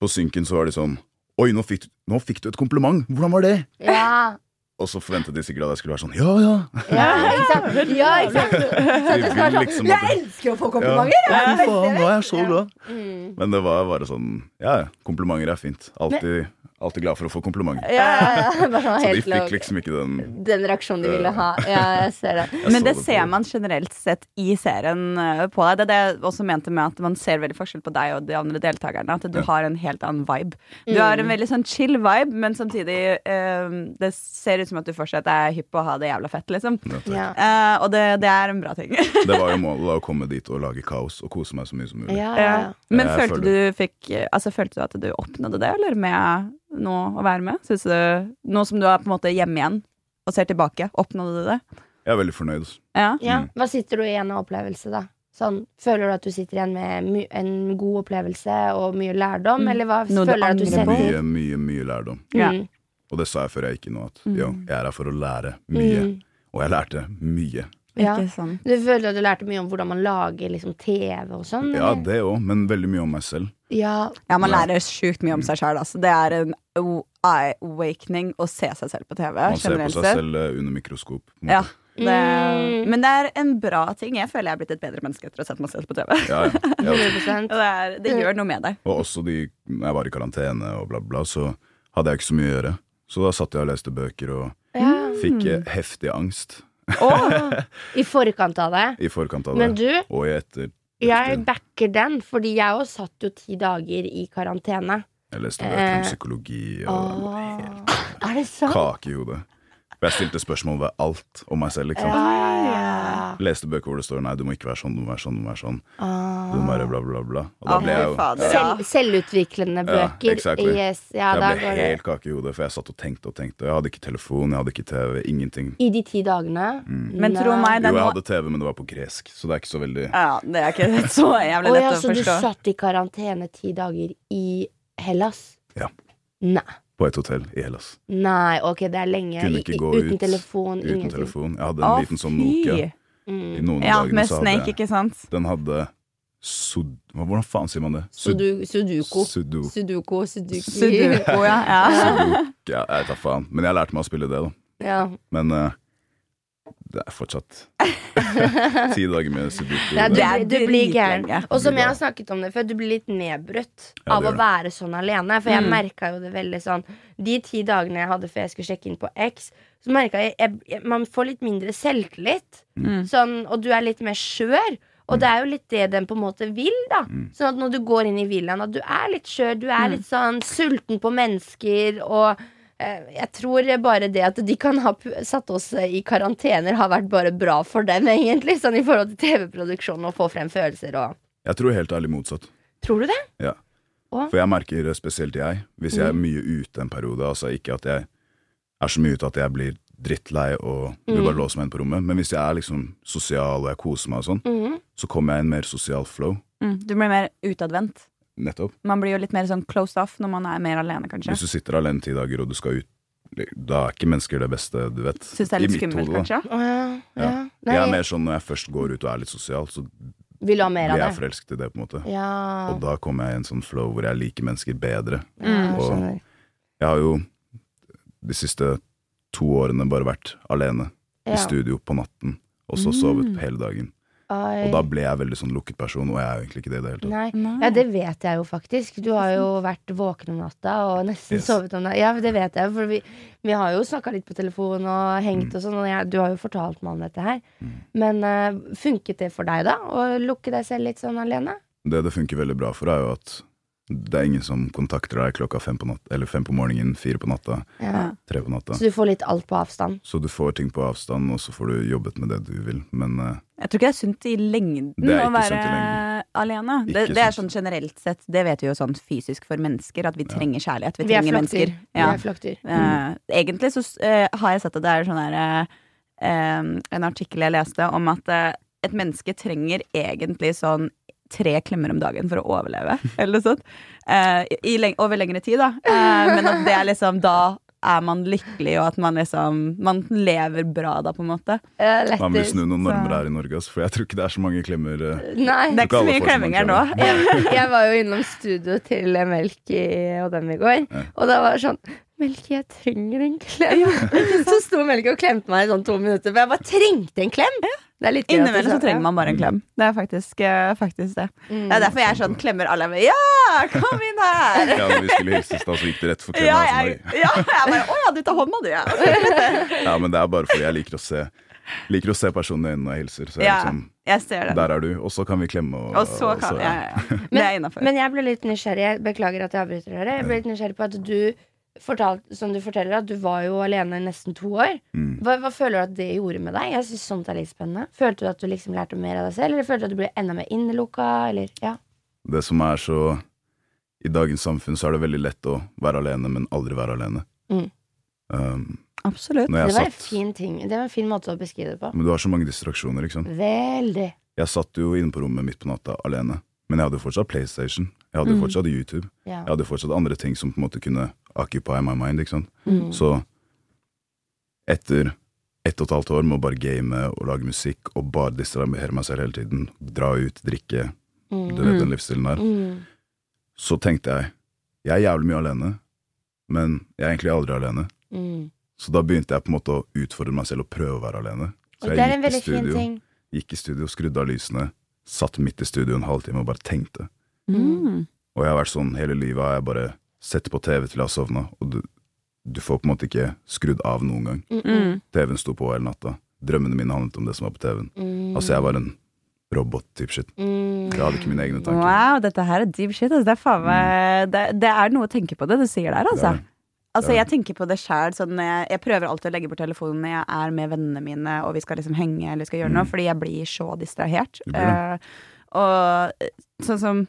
Speaker 3: på synken så var det sånn Oi, nå fikk, nå fikk du et kompliment! Hvordan var det?
Speaker 1: Ja,
Speaker 3: Og så forventet de sikkert at jeg skulle være sånn Ja,
Speaker 2: <laughs>
Speaker 3: ja!
Speaker 1: <laughs> ja ikke sant? Ja, ikke sant? Så at du
Speaker 3: Vi
Speaker 1: skal
Speaker 3: vil
Speaker 1: være
Speaker 3: liksom
Speaker 1: sånn
Speaker 3: at
Speaker 1: Jeg
Speaker 3: det-
Speaker 1: elsker å få komplimenter!
Speaker 3: Ja. Fy faen, nå er jeg så
Speaker 1: Ja.
Speaker 3: glad!
Speaker 1: Mm.
Speaker 3: Men det var bare sånn Ja, ja, komplimenter er fint. Alltid, alltid glad for å få komplimenter.
Speaker 1: Ja, ja,
Speaker 3: <laughs>
Speaker 1: ja. Bare sånn
Speaker 3: Så de
Speaker 1: helt lov.
Speaker 3: fikk liksom ikke den
Speaker 1: Den reaksjonen de ville ha. Ja, jeg ser det.
Speaker 3: Jeg
Speaker 2: Men
Speaker 3: så
Speaker 2: det
Speaker 3: på-
Speaker 2: ser man generelt sett i serien eh, på deg. Det er det jeg også mente med at man ser veldig forskjell på deg og de andre deltakerne. At du har en helt annen vibe. Du har
Speaker 1: Mm.
Speaker 2: en veldig sånn chill vibe, men samtidig eh, Det ser ut som at du fortsatt er hypp på å ha det jævla fett, liksom.
Speaker 1: Ja.
Speaker 2: Eh, og det, det er en bra ting.
Speaker 3: Det var jo målet da, å komme dit og lage kaos og kose meg så mye som mulig.
Speaker 1: Ja, ja, ja.
Speaker 2: <laughs> Men
Speaker 3: Jeg
Speaker 2: følte
Speaker 3: føler-
Speaker 2: du, fikk, altså, følte du at du oppnådde det, eller med nå å være med? Synes du, nå som du er på en måte hjemme igjen og ser tilbake, oppnådde du det?
Speaker 3: Jeg er veldig fornøyd. altså. ass.
Speaker 2: Ja.
Speaker 1: ja.
Speaker 3: Mm.
Speaker 1: Hva sitter du igjen av opplevelse, da? Sånn, føler du at du sitter igjen med my en god opplevelse og mye lærdom,
Speaker 2: Mm.
Speaker 1: eller hva
Speaker 2: Noe du
Speaker 1: føler du at du
Speaker 2: angrer på?
Speaker 1: setter
Speaker 3: Mye, mye, mye lærdom.
Speaker 2: Ja.
Speaker 1: Mm.
Speaker 3: Og det sa jeg før jeg gikk inn nå, at jo, jeg er her for å lære mye.
Speaker 1: Mm.
Speaker 3: Og jeg lærte mye.
Speaker 1: Ja.
Speaker 2: Ikke sånn. sant.
Speaker 1: Du føler at du lærte mye om hvordan man lager liksom, TV og sånn?
Speaker 3: Ja,
Speaker 1: eller?
Speaker 3: det òg, men veldig mye om meg selv.
Speaker 1: ja.
Speaker 2: Ja, man
Speaker 3: Ja.
Speaker 2: lærer sjukt mye om seg sjøl. Altså. Det er en o- eye-awakening å se seg selv på TV.
Speaker 3: Man ser på
Speaker 2: generelt
Speaker 3: seg
Speaker 2: sett.
Speaker 3: selv eh, under mikroskop. på en
Speaker 2: Ja,
Speaker 3: måte.
Speaker 2: det er,
Speaker 1: Mm.
Speaker 2: men det er en bra ting. Jeg føler jeg er blitt et bedre menneske etter å ha sett meg selv på TV.
Speaker 1: <laughs>
Speaker 3: Ja, ja. Jeg også.
Speaker 1: 100
Speaker 2: Og Det, er,
Speaker 1: Mm.
Speaker 2: det gjør noe med deg.
Speaker 3: Og også de, når jeg var i karantene og bla, bla, så hadde jeg ikke så mye å gjøre. Så da satt jeg og leste bøker og
Speaker 1: ja.
Speaker 3: fikk
Speaker 1: Mm.
Speaker 3: eh, heftig angst
Speaker 1: I forkant av det.
Speaker 3: i forkant av det.
Speaker 1: Men du,
Speaker 3: Og i etter.
Speaker 1: jeg backer den, fordi jeg òg satt jo ti dager i karantene.
Speaker 3: Jeg leste bøker
Speaker 1: Eh,
Speaker 3: om psykologi og
Speaker 1: Er det sant?
Speaker 3: kake i hodet. For jeg stilte spørsmål ved alt om meg selv. ikke sant? Leste bøker hvor det står 'nei, du må ikke være sånn, du må være sånn', du må være sånn.
Speaker 2: Ah.
Speaker 3: Du må
Speaker 1: Ah.
Speaker 3: være bla, bla, bla. Og da
Speaker 2: Å,
Speaker 3: ble jeg jo
Speaker 2: fy fader.
Speaker 1: Selv, selvutviklende bøker.
Speaker 3: exactly.
Speaker 1: yes, ja, da
Speaker 3: jeg ble
Speaker 1: går det.
Speaker 3: helt kake i hodet, for jeg satt og tenkte og tenkte. og Jeg hadde ikke telefon, jeg hadde ikke TV, ingenting.
Speaker 1: I de ti dagene.
Speaker 3: Mm.
Speaker 2: Men
Speaker 1: Nei.
Speaker 2: tro meg, det er
Speaker 3: Jo, jeg
Speaker 2: noe
Speaker 3: hadde TV, men det var på gresk, så det er ikke så veldig
Speaker 2: ja, Det er ikke <laughs> så jævlig
Speaker 1: Å
Speaker 2: lett
Speaker 1: ja,
Speaker 2: å
Speaker 1: så du
Speaker 2: forstå.
Speaker 1: satt i karantene ti dager i Hellas?
Speaker 3: Ja.
Speaker 1: Nei.
Speaker 3: På et hotell i Hellas.
Speaker 1: Nei, ok, det er lenge.
Speaker 3: Kunne
Speaker 1: I-
Speaker 3: ikke
Speaker 1: i-
Speaker 3: gå
Speaker 1: uten
Speaker 3: ut,
Speaker 1: telefon,
Speaker 3: Uten
Speaker 1: ingenting. Mm.
Speaker 3: telefon. Jeg hadde en
Speaker 2: Å,
Speaker 3: liten sånn Nokia.
Speaker 2: fy!
Speaker 3: I noen
Speaker 2: Ja,
Speaker 3: av dagene
Speaker 2: med
Speaker 3: så
Speaker 2: Snake,
Speaker 3: hadde jeg
Speaker 2: ikke sant?
Speaker 3: Den hadde sud... hva- Hvordan faen sier man det?
Speaker 1: Sudu, sudoku.
Speaker 3: Sudoku.
Speaker 1: Sudoku, sudoku.
Speaker 2: Sudoku, ja. ja.
Speaker 3: Sudoku. Ja, jeg vet da faen. Men jeg lærte meg å spille det, da.
Speaker 1: <laughs> Ja.
Speaker 3: Men eh, det er
Speaker 2: <laughs>
Speaker 3: fortsatt ti dager med sudoku.
Speaker 1: Ja,
Speaker 3: men-
Speaker 1: du,
Speaker 2: Det er
Speaker 1: du blir
Speaker 2: dritlenge.
Speaker 1: gæren. Og som
Speaker 3: Blir
Speaker 1: jeg har
Speaker 3: gal.
Speaker 1: snakket om det før, du blir litt nedbrutt
Speaker 3: Ja,
Speaker 1: av
Speaker 3: det
Speaker 1: å
Speaker 3: gjør
Speaker 1: være sånn alene. For jeg
Speaker 2: Mm.
Speaker 1: merka jo det veldig sånn De ti dagene jeg hadde før jeg skulle sjekke inn på X, så merka jeg, jeg, jeg Man får litt mindre selvtillit.
Speaker 2: Mm.
Speaker 1: Sånn, og du er litt mer skjør. Og
Speaker 3: Mm.
Speaker 1: det er jo litt det den på en måte vil, da. Sånn at når du går inn i villaen, at du er litt skjør, du
Speaker 3: Mm.
Speaker 1: er litt sånn sulten på mennesker og eh, jeg tror bare det at de kan ha pu- satt oss i karantener, har vært bare bra for dem, <laughs> egentlig. Sånn i forhold til TV-produksjonen og få frem følelser og
Speaker 3: Jeg tror helt ærlig motsatt.
Speaker 1: Tror du det?
Speaker 3: Ja.
Speaker 1: Å?
Speaker 3: For jeg merker spesielt jeg, hvis
Speaker 2: Mm.
Speaker 3: jeg er mye ute en periode, altså ikke at jeg er så mye ute at jeg blir drittlei og vil
Speaker 2: Mm.
Speaker 3: bare låse meg inn på rommet, men hvis jeg er liksom sosial og jeg koser meg og sånn,
Speaker 1: Mhm.
Speaker 3: så kommer jeg i en mer sosial flow.
Speaker 2: Mm, Du blir mer utadvendt.
Speaker 3: Nettopp.
Speaker 2: Man blir jo litt mer sånn closed off når man er mer alene, kanskje.
Speaker 3: Hvis du sitter alene ti dager og du skal ut, da er ikke mennesker det beste, du vet.
Speaker 2: Syns det er litt
Speaker 3: I mitt
Speaker 2: skummelt,
Speaker 3: hode, da.
Speaker 2: kanskje?
Speaker 1: Å ja. ja.
Speaker 3: Ja.
Speaker 1: Nei,
Speaker 3: Jeg er mer sånn når jeg først går ut og er litt sosial, så
Speaker 1: vil du ha mer
Speaker 3: blir jeg
Speaker 1: av det?
Speaker 3: forelsket i det, på en måte.
Speaker 1: Ja.
Speaker 3: Og da kommer jeg i en sånn flow hvor jeg liker mennesker bedre.
Speaker 1: ja, jeg
Speaker 3: og-
Speaker 1: skjønner.
Speaker 3: Jeg har jo de siste to årene bare vært alene i
Speaker 1: Ja. Mm.
Speaker 3: studio på natten, og så sovet hele dagen.
Speaker 1: Oi.
Speaker 3: Og da ble jeg veldig sånn lukket person, og jeg er jo egentlig ikke det i det hele tatt.
Speaker 1: Nei.
Speaker 2: Nei.
Speaker 1: Ja, det vet jeg jo faktisk. Du har jo vært våken om natta og nesten
Speaker 3: Yes.
Speaker 1: sovet om natta. Ja, det vet jeg, for vi, vi har jo snakka litt på telefon og hengt
Speaker 3: Mm.
Speaker 1: og sånn, og jeg, du har jo fortalt meg om dette her. Men eh, funket det for deg, da? Å lukke deg selv litt sånn alene?
Speaker 3: Det det funker veldig bra for, er jo at det er ingen som kontakter deg klokka fem på, natt, eller fem på morgenen, fire på natta,
Speaker 1: Ja.
Speaker 3: tre på natta.
Speaker 1: Så du får litt alt på avstand?
Speaker 3: Så du får ting på avstand, og så får du jobbet med det du vil. Men eh,
Speaker 2: Jeg tror ikke det er sunt i lengden
Speaker 3: Det er
Speaker 2: å
Speaker 3: ikke
Speaker 2: være
Speaker 3: sunt i lengden.
Speaker 2: alene.
Speaker 3: Ikke
Speaker 2: Det, det er sånn
Speaker 3: sunt.
Speaker 2: generelt sett, det vet vi jo sånn fysisk for mennesker, at vi trenger kjærlighet. Vi,
Speaker 1: Vi er flokkdyr.
Speaker 2: trenger mennesker.
Speaker 1: Vi
Speaker 2: Ja.
Speaker 1: er flokkdyr.
Speaker 2: Eh, egentlig så eh, har jeg sett at det er sånn her eh, eh, En artikkel jeg leste om at eh, et menneske trenger egentlig sånn tre klemmer om dagen for å overleve, <laughs> eller noe sånt. Eh, i, leng- over lengre tid, da. Eh, men at det er liksom Da er man lykkelig, og at man liksom Man lever bra da, på en måte.
Speaker 1: Eh,
Speaker 3: Man vil
Speaker 1: lettest.
Speaker 3: snu noen normer her i Norge, ass, for jeg tror ikke det er så mange klemmer. eh.
Speaker 1: Nei.
Speaker 2: Det er ikke så
Speaker 3: Gale
Speaker 2: mye
Speaker 3: folk som man
Speaker 2: klemming her nå.
Speaker 3: klemmer.
Speaker 1: <laughs> jeg var jo innom studio til Melk i- og dem i går, og da var det sånn Melk, jeg trenger en klem. <laughs> så sto Melk og klemte meg i sånn to minutter, for jeg bare trengte en klem. Det er litt gøy at du
Speaker 2: Innimellom
Speaker 1: sa
Speaker 2: så
Speaker 1: det.
Speaker 2: trenger man bare
Speaker 3: Mm.
Speaker 2: en klem. Det er faktisk, eh, faktisk det. Det er derfor jeg er
Speaker 3: Mm.
Speaker 2: sånn klemmer alle. Jeg bare, Ja, kom inn her!
Speaker 3: <laughs> Ja, når vi skulle hilses, da, så gikk det rett for altså,
Speaker 2: Ja,
Speaker 3: klemma.
Speaker 2: jeg, ja, jeg bare Å ja, du tar hånda,
Speaker 3: <laughs>
Speaker 2: du, ja.
Speaker 3: Ja, men det er bare fordi jeg liker å se Liker å se personen i øynene når jeg hilser. Så jeg
Speaker 2: ja.
Speaker 3: liksom,
Speaker 2: Jeg ser det.
Speaker 3: der er du, og så kan vi klemme. Og,
Speaker 2: Og så kan
Speaker 3: og
Speaker 2: Ja,
Speaker 3: <laughs>
Speaker 2: ja, ja. Det er innafor.
Speaker 1: Men jeg ble litt nysgjerrig. Jeg Beklager at jeg avbryter dere. Jeg ble litt nysgjerrig på at du fortalt, som du forteller, at du var jo alene i nesten to år.
Speaker 3: Mm.
Speaker 1: Hva, hva føler du at det gjorde med deg? Jeg synes sånt er litt spennende Følte du at du liksom lærte mer av deg selv, eller følte du at du ble enda mer innelukka? Eller, ja.
Speaker 3: Det som er så I dagens samfunn så er det veldig lett å være alene, men aldri være alene.
Speaker 1: Mm.
Speaker 3: Um,
Speaker 2: Absolutt.
Speaker 3: når
Speaker 1: Det
Speaker 3: jeg
Speaker 1: var en
Speaker 3: satt,
Speaker 1: fin ting Det var en fin måte å beskrive det på.
Speaker 3: Men du har så mange distraksjoner, ikke sant.
Speaker 1: Veldig.
Speaker 3: Jeg satt jo inne på rommet midt på natta alene, men jeg hadde jo fortsatt PlayStation. Jeg hadde jo
Speaker 1: Mm.
Speaker 3: fortsatt YouTube.
Speaker 1: Ja.
Speaker 3: Jeg hadde jo fortsatt andre ting som på en måte kunne occupy my mind, ikke sant.
Speaker 1: Mm.
Speaker 3: Så etter ett og et halvt år med å bare game og lage musikk og bare distrahere meg selv hele tiden, dra ut, drikke, du
Speaker 1: Mm.
Speaker 3: vet den livsstilen der,
Speaker 1: Mm.
Speaker 3: så tenkte jeg jeg er jævlig mye alene, men jeg er egentlig aldri alene.
Speaker 1: Mm.
Speaker 3: Så da begynte jeg på en måte å utfordre meg selv og prøve å være alene. Så
Speaker 1: Og
Speaker 3: jeg
Speaker 1: det er en
Speaker 3: gikk i
Speaker 1: veldig fin
Speaker 3: studio.
Speaker 1: ting.
Speaker 3: Gikk i studio, skrudde av lysene, satt midt i studio en halvtime og bare tenkte.
Speaker 2: Mm.
Speaker 3: Og jeg har vært sånn hele livet, har jeg bare sett på TV til jeg har sovna, og du, du får på en måte ikke skrudd av noen gang.
Speaker 1: Mm. Mm.
Speaker 2: Mm.
Speaker 3: TV-en sto på hele natta. Drømmene mine handlet om det som var på TV-en.
Speaker 1: Mm.
Speaker 3: Altså, jeg var en robot type shit.
Speaker 1: Mm.
Speaker 3: Jeg hadde ikke mine egne tanker.
Speaker 2: Wow, dette her er deep shit. Altså. Det, er faen meg, det, det er noe å tenke på det du sier der, altså.
Speaker 3: Mm. Det er det.
Speaker 2: Altså,
Speaker 3: Det er
Speaker 2: jeg tenker på det sjæl. Sånn, jeg, jeg prøver alltid å legge bort telefonen når jeg er med vennene mine og vi skal liksom henge eller vi skal gjøre noe, fordi jeg blir så distrahert.
Speaker 3: Mm. Du blir
Speaker 2: Eh, og eh, sånn som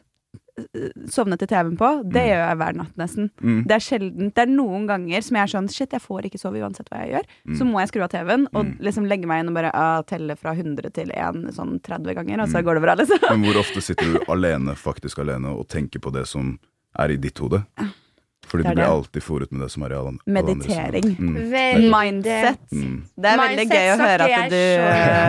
Speaker 2: eh, sovne til TV-en på, det gjør jeg hver natt nesten.
Speaker 3: Mm.
Speaker 2: Det er sjelden, det er noen ganger som jeg er sånn Shit, jeg får ikke sove uansett hva jeg gjør.
Speaker 3: Mm.
Speaker 2: Så må jeg skru av TV-en og liksom legge meg inn og bare ah, telle fra 100 til 1 sånn 30 ganger,
Speaker 3: Mm.
Speaker 2: og så går det bra, liksom.
Speaker 3: Men hvor ofte sitter du alene, faktisk alene, og tenker på det som er i ditt hode? Fordi
Speaker 2: Det er
Speaker 3: du blir
Speaker 2: det.
Speaker 3: alltid fòret med det som er i alle, alle andre
Speaker 2: Meditering.
Speaker 3: sine. Mm.
Speaker 1: Veldig.
Speaker 2: Eh, Mindset.
Speaker 3: Mm.
Speaker 2: Det er
Speaker 1: Mindset
Speaker 2: veldig gøy å høre
Speaker 1: snakker
Speaker 2: at du,
Speaker 3: jeg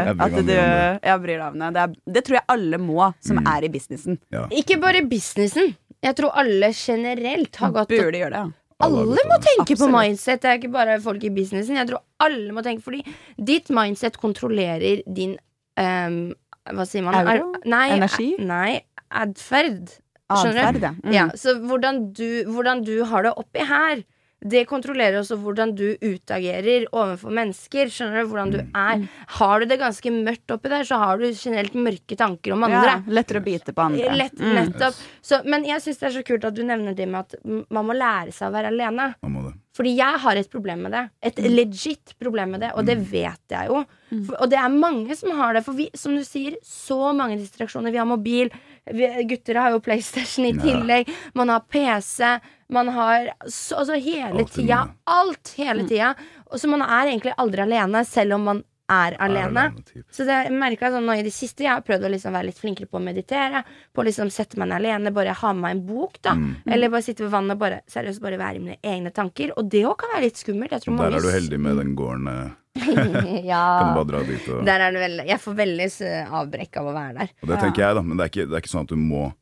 Speaker 3: så.
Speaker 2: at
Speaker 3: Jeg bryr meg
Speaker 2: du
Speaker 3: mye om
Speaker 2: ja, bryr deg om det. Det, er, det tror jeg alle må, som
Speaker 3: Mm.
Speaker 2: er i businessen.
Speaker 3: Ja.
Speaker 1: Ikke bare businessen. Jeg tror alle generelt har godt av
Speaker 2: Burde gjøre det. ja.
Speaker 3: Alle har
Speaker 1: Alle
Speaker 3: godt
Speaker 1: må
Speaker 3: av det.
Speaker 1: tenke på
Speaker 2: Absolutt.
Speaker 1: mindset. Det er ikke bare folk i businessen. Jeg tror alle må tenke Fordi ditt mindset kontrollerer din ehm, Hva sier man?
Speaker 2: Aura?
Speaker 1: Er- Nei,
Speaker 2: Energi?
Speaker 1: a- Nei, atferd. Skjønner du?
Speaker 2: Atferd, ja. Mm.
Speaker 1: Ja, så hvordan du, hvordan du har det oppi her, det kontrollerer også hvordan du utagerer overfor mennesker. Skjønner du hvordan du er? Har du det ganske mørkt oppi der, så har du generelt mørke tanker om andre.
Speaker 2: Ja, lettere å bite på andre.
Speaker 1: Lett,
Speaker 2: Mm.
Speaker 1: nettopp. Så, men jeg syns det er så kult at du nevner det med at m- man må lære seg å være alene.
Speaker 3: Man må det.
Speaker 1: Fordi jeg har et problem med det. Et legit problem med det, og det vet jeg jo. For, og det er mange som har det. For vi, som du sier, så mange distraksjoner. Vi har mobil, vi, gutter har jo PlayStation i
Speaker 3: Ja.
Speaker 1: tillegg. Man har PC. Man har så, altså hele
Speaker 3: Alt i
Speaker 1: tida.
Speaker 3: noe.
Speaker 1: Alt hele tida. Og så man er egentlig aldri alene, selv om man er
Speaker 3: Er
Speaker 1: alene.
Speaker 3: typ.
Speaker 1: Så det merket jeg sånn nå i det siste Jeg har prøvd å liksom være litt flinkere på å meditere På å liksom sette meg ned alene Bare ha med meg en bok da
Speaker 3: Mm.
Speaker 1: Eller bare sitte ved vannet og bare Seriøst bare være i mine egne tanker Og det også kan være litt skummelt Jeg tror
Speaker 3: Der
Speaker 1: mange
Speaker 3: er du heldig med den gården. eh, Kan du
Speaker 1: <laughs> Ja
Speaker 3: bare dra dit og
Speaker 1: Der er det veldig Jeg får veldig eh, avbrekk av å være der
Speaker 3: Og det tenker jeg, da. Men det er ikke, det er ikke sånn at du må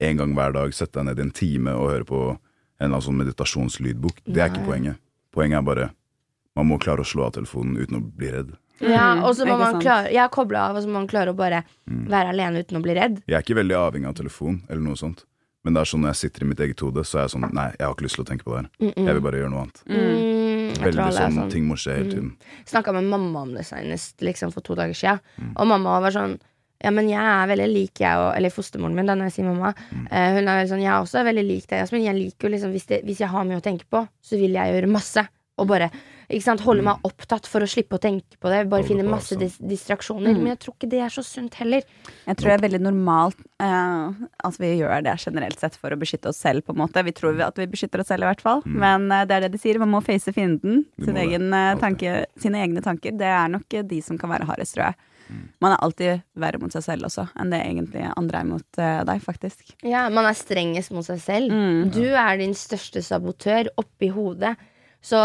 Speaker 3: en gang hver dag sette deg ned i en time og høre på en eller annen sånn meditasjonslydbok. Det er ikke
Speaker 1: Nei.
Speaker 3: poenget. Poenget er bare man må klare å slå av telefonen uten å bli redd.
Speaker 1: Ja, og så må
Speaker 2: Mm. ikke
Speaker 1: man
Speaker 2: sant?
Speaker 1: klare Jeg har koblet av Og så må man klare å bare
Speaker 3: Mm.
Speaker 1: Være alene uten å bli redd
Speaker 3: Jeg er ikke veldig avhengig av telefon eller noe sånt. Men det er sånn når jeg sitter i mitt eget hode, så er jeg sånn Nei, jeg har ikke lyst til å tenke på det her. Jeg vil bare gjøre noe annet.
Speaker 1: Mm, jeg tror
Speaker 3: Veldig
Speaker 1: alle er
Speaker 3: sånn,
Speaker 1: sånn.
Speaker 3: ting må skje hele tiden.
Speaker 1: Snakka med mamma om det senest, liksom for to dager siden.
Speaker 3: Mm.
Speaker 1: Og mamma var sånn Ja, men jeg er veldig lik jeg og Eller fostermoren min, da, når jeg sier mamma.
Speaker 3: Mm.
Speaker 1: Eh, hun er veldig sånn Jeg er også veldig lik deg, Jasmin. Jeg liker jo liksom hvis, det, hvis jeg har mye å tenke på, så vil jeg gjøre masse. Og bare ikke sant, holde meg opptatt for å slippe å tenke på det. Bare
Speaker 3: Mm. Holde
Speaker 1: finne
Speaker 3: på sånn. Mm.
Speaker 1: masse
Speaker 3: avstand.
Speaker 1: dis distraksjoner. Men jeg tror ikke det er så sunt heller.
Speaker 2: Jeg tror det er veldig normalt eh, at vi gjør det generelt sett for å beskytte oss selv. på en måte Vi tror vi- at vi beskytter oss selv, i hvert fall. Men eh, det er det de sier, man må face fienden.
Speaker 3: Du
Speaker 2: Sin
Speaker 3: Mm. må det.
Speaker 2: egen, eh,
Speaker 3: Alltid.
Speaker 2: tanke, sine egne tanker. Det er nok eh, de som kan være hardest, tror jeg.
Speaker 3: Mm.
Speaker 2: Man er alltid verre mot seg selv også enn det egentlig andre er mot eh, deg, faktisk.
Speaker 1: Ja, man er strengest mot seg selv.
Speaker 2: Mm.
Speaker 1: Du er din største sabotør oppi hodet. Så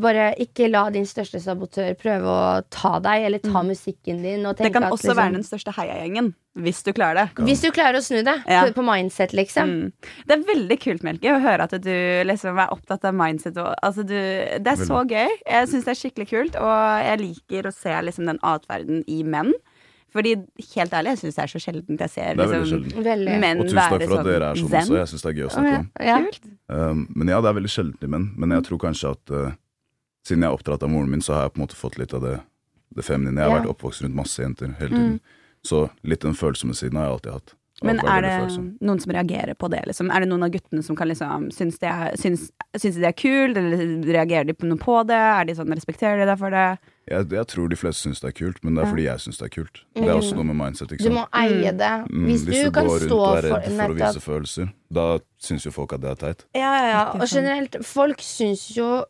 Speaker 1: bare ikke la din største sabotør prøve å ta deg, eller ta musikken din. Og
Speaker 2: Mm. Det
Speaker 1: tenke
Speaker 2: kan
Speaker 1: at, liksom
Speaker 2: også være den største heiagjengen, hvis du klarer det.
Speaker 1: Hvis du klarer å snu det
Speaker 2: Ja.
Speaker 1: på, på mindset, liksom.
Speaker 2: Mm. Det er veldig kult, Melke, å høre at du liksom er opptatt av mindset. Og, altså du, det er så gøy. Jeg syns det er skikkelig kult, og jeg liker å se liksom, den atferden i menn. Fordi helt ærlig, jeg syns det er så sjeldent jeg ser
Speaker 3: Det er veldig
Speaker 2: liksom,
Speaker 3: sjelden.
Speaker 1: Veldig.
Speaker 2: menn
Speaker 3: Og tusen takk
Speaker 2: være
Speaker 3: for
Speaker 2: sånn
Speaker 3: at dere er sånn
Speaker 2: zen.
Speaker 3: også. Jeg syns det er gøy å
Speaker 1: Å,
Speaker 3: snakke
Speaker 1: ja.
Speaker 3: om.
Speaker 1: Ja.
Speaker 3: Um, men ja, det er veldig sjeldent i menn. Men jeg tror kanskje at eh, siden jeg er oppdratt av moren min, så har jeg på en måte fått litt av det, det feminine. Jeg
Speaker 1: Ja.
Speaker 3: har
Speaker 1: Mm.
Speaker 3: vært oppvokst rundt masse jenter hele tiden. Så litt den følsomme siden har jeg alltid hatt. Jeg har
Speaker 2: Men
Speaker 3: alltid vært
Speaker 2: er det
Speaker 3: veldig følsom.
Speaker 2: noen som reagerer på det? Liksom? Er det noen av guttene som kan liksom Syns de er, syns, syns de er kult, eller reagerer de på noe på det? Er de sånn, Respekterer de deg for det?
Speaker 3: Jeg, jeg tror de fleste syns det er kult, men det er fordi jeg syns det er kult. Det er også noe med mindset, ikke
Speaker 1: Mm. Du
Speaker 3: sant.
Speaker 1: må eie det.
Speaker 3: Mm,
Speaker 1: Hvis du,
Speaker 3: går
Speaker 1: kan
Speaker 3: rundt
Speaker 1: stå
Speaker 3: og er
Speaker 1: for,
Speaker 3: redd for, å
Speaker 1: nettopp.
Speaker 3: vise følelser, da syns jo folk at det er teit.
Speaker 1: Ja, ja, ja.
Speaker 2: Ikke
Speaker 3: sånn.
Speaker 1: Og
Speaker 2: sant.
Speaker 1: generelt, folk syns jo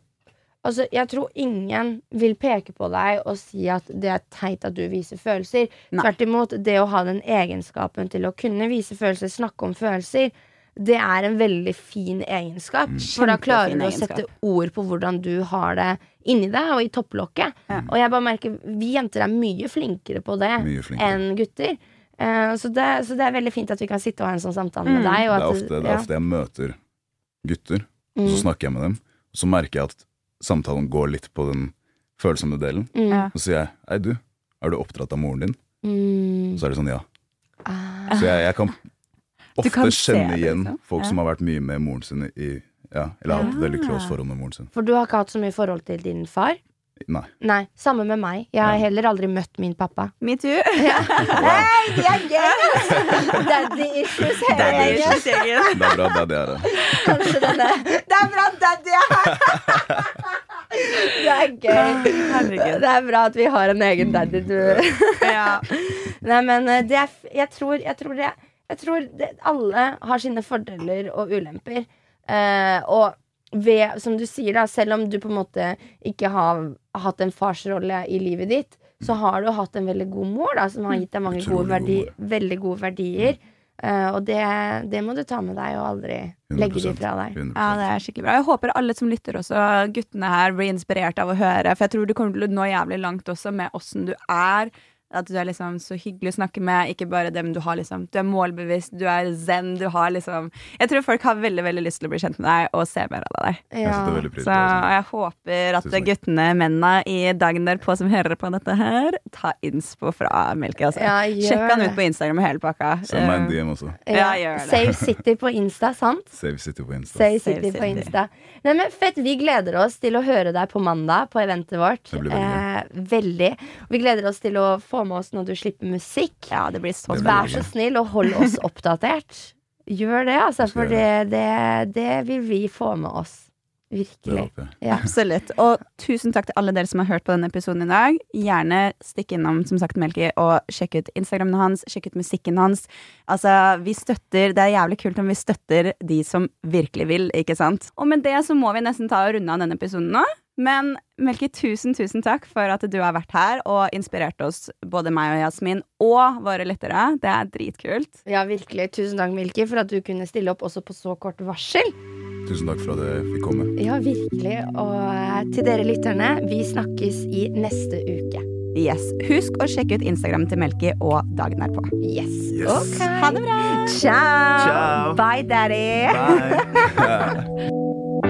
Speaker 1: Altså, jeg tror ingen vil peke på deg og si at det er teit at du viser følelser.
Speaker 2: Nei.
Speaker 1: Tvert imot, det å ha den egenskapen til å kunne vise følelser, snakke om følelser, det er en veldig fin egenskap.
Speaker 3: Mm.
Speaker 1: For da klarer
Speaker 2: Kjempefin
Speaker 1: du å
Speaker 2: egenskap.
Speaker 1: sette ord på hvordan du har det inni deg og i topplokket. Og jeg bare merker, vi jenter er mye flinkere på det
Speaker 3: Mye flinkere.
Speaker 1: enn gutter. Eh, så, det, så det er veldig fint at vi kan sitte og ha en sånn samtale med deg. Og at,
Speaker 3: Mm. Det er ofte, det
Speaker 1: ja.
Speaker 3: er ofte jeg møter gutter, og så
Speaker 1: Mm.
Speaker 3: snakker jeg med dem, og så merker jeg at samtalen går litt på den følsomme delen.
Speaker 1: Mm.
Speaker 2: Ja.
Speaker 3: Så sier jeg 'Hei, du, er du oppdratt av moren din?'
Speaker 1: Mm.
Speaker 3: Så er det sånn 'ja'.
Speaker 1: Ah.
Speaker 3: Så jeg, jeg kan ofte
Speaker 2: kan se
Speaker 3: kjenne
Speaker 2: det,
Speaker 3: igjen
Speaker 2: liksom.
Speaker 3: folk
Speaker 2: Ja. Ah.
Speaker 3: som har vært mye med moren sin i ja, Eller hatt et veldig
Speaker 2: Ja.
Speaker 3: close forhold med moren sin.
Speaker 1: For du har ikke hatt så mye forhold til din far?
Speaker 3: Nei.
Speaker 1: Nei, samme med meg. Jeg har
Speaker 3: Ja.
Speaker 1: heller aldri møtt min pappa.
Speaker 2: Metoo.
Speaker 1: Det er Daddy issues hele
Speaker 2: <laughs>
Speaker 3: Daddy
Speaker 1: gjengen.
Speaker 3: issues. <laughs> Det er bra, det er det jeg er.
Speaker 1: Kanskje denne. Det er bra daddy er
Speaker 3: <laughs>
Speaker 1: her! Det er gøy.
Speaker 2: Herregud.
Speaker 1: Det er bra at vi har en egen daddy, du.
Speaker 2: Ja.
Speaker 1: Nei, men eh, det er f- Jeg tror, jeg tror, det, jeg tror det, alle har sine fordeler og ulemper. Eh, og ved, som du sier, da, selv om du på en måte ikke har hatt en farsrolle i livet ditt, så har du hatt en veldig god mor da, som har gitt deg mange gode
Speaker 3: Utrolig god
Speaker 1: verdi,
Speaker 3: mor.
Speaker 1: veldig gode verdier. Eh, og det, det må du ta med deg og aldri legge det
Speaker 3: 100%.
Speaker 1: fra deg.
Speaker 3: 100%.
Speaker 2: Ja, det er skikkelig bra. Jeg håper alle som lytter også, guttene her, blir inspirert av å høre. For jeg tror du kommer til å nå jævlig langt også med åssen du er. At du er liksom så hyggelig å snakke med, ikke bare dem du har, liksom. Du er målbevisst, du er zen, du har liksom Jeg tror folk har veldig, veldig lyst til å bli kjent med deg og se mer av deg.
Speaker 3: Jeg setter
Speaker 1: Ja.
Speaker 3: veldig pris
Speaker 2: Så
Speaker 3: på det. altså.
Speaker 2: jeg håper at
Speaker 3: Tusen takk.
Speaker 2: guttene, mennene i dagen derpå som hører på dette her, ta innspo fra Melke, altså.
Speaker 1: Ja, gjør
Speaker 2: Sjekk han
Speaker 1: det.
Speaker 2: ut på Instagram og hele pakka. Eh,
Speaker 3: altså. Send meg en DM også.
Speaker 2: Ja, gjør det.
Speaker 1: Save City på Insta, sant?
Speaker 3: Save City på Insta.
Speaker 1: Say
Speaker 2: Save
Speaker 1: City på
Speaker 2: City.
Speaker 1: Insta. Nei, men fett, Vi gleder oss til å høre deg på mandag på eventet vårt.
Speaker 3: Det blir veldig
Speaker 1: Eh, veldig. Vi gleder oss til å få med oss når du slipper musikk.
Speaker 2: Ja, det blir så
Speaker 3: Det blir
Speaker 1: Vær
Speaker 3: veldig
Speaker 1: så
Speaker 3: bra.
Speaker 1: snill og hold
Speaker 3: <laughs>
Speaker 1: oss oppdatert. Gjør det, altså,
Speaker 3: skal
Speaker 1: for det, det, det vil vi få med oss.
Speaker 3: Det
Speaker 1: Virkelig.
Speaker 3: håper jeg.
Speaker 1: Ja.
Speaker 2: Absolutt. Og tusen takk til alle dere som har hørt på denne episoden i dag. Gjerne stikk innom som sagt Melky og sjekk ut Instagramen hans, sjekk ut musikken hans. Altså, vi støtter Det er jævlig kult om vi støtter de som virkelig vil, ikke sant? Og med det så må vi nesten ta og runde av denne episoden nå. Men Melky, tusen, tusen takk for at du har vært her og inspirert oss, både meg og Jasmin, og våre lyttere. Det er dritkult.
Speaker 1: ja, virkelig. Tusen takk, Milky, for at du kunne stille opp også på så kort varsel.
Speaker 3: Tusen takk for at jeg fikk komme.
Speaker 1: Ja, virkelig. Og eh, til dere lytterne, vi snakkes i neste uke.
Speaker 2: Yes. Husk å sjekke ut Instagram til Melky og dagen derpå.
Speaker 1: Yes.
Speaker 3: Yes.
Speaker 1: Ok.
Speaker 2: Ha det bra!
Speaker 1: Ciao.
Speaker 3: Ciao.
Speaker 1: Bye, daddy.
Speaker 3: Bye.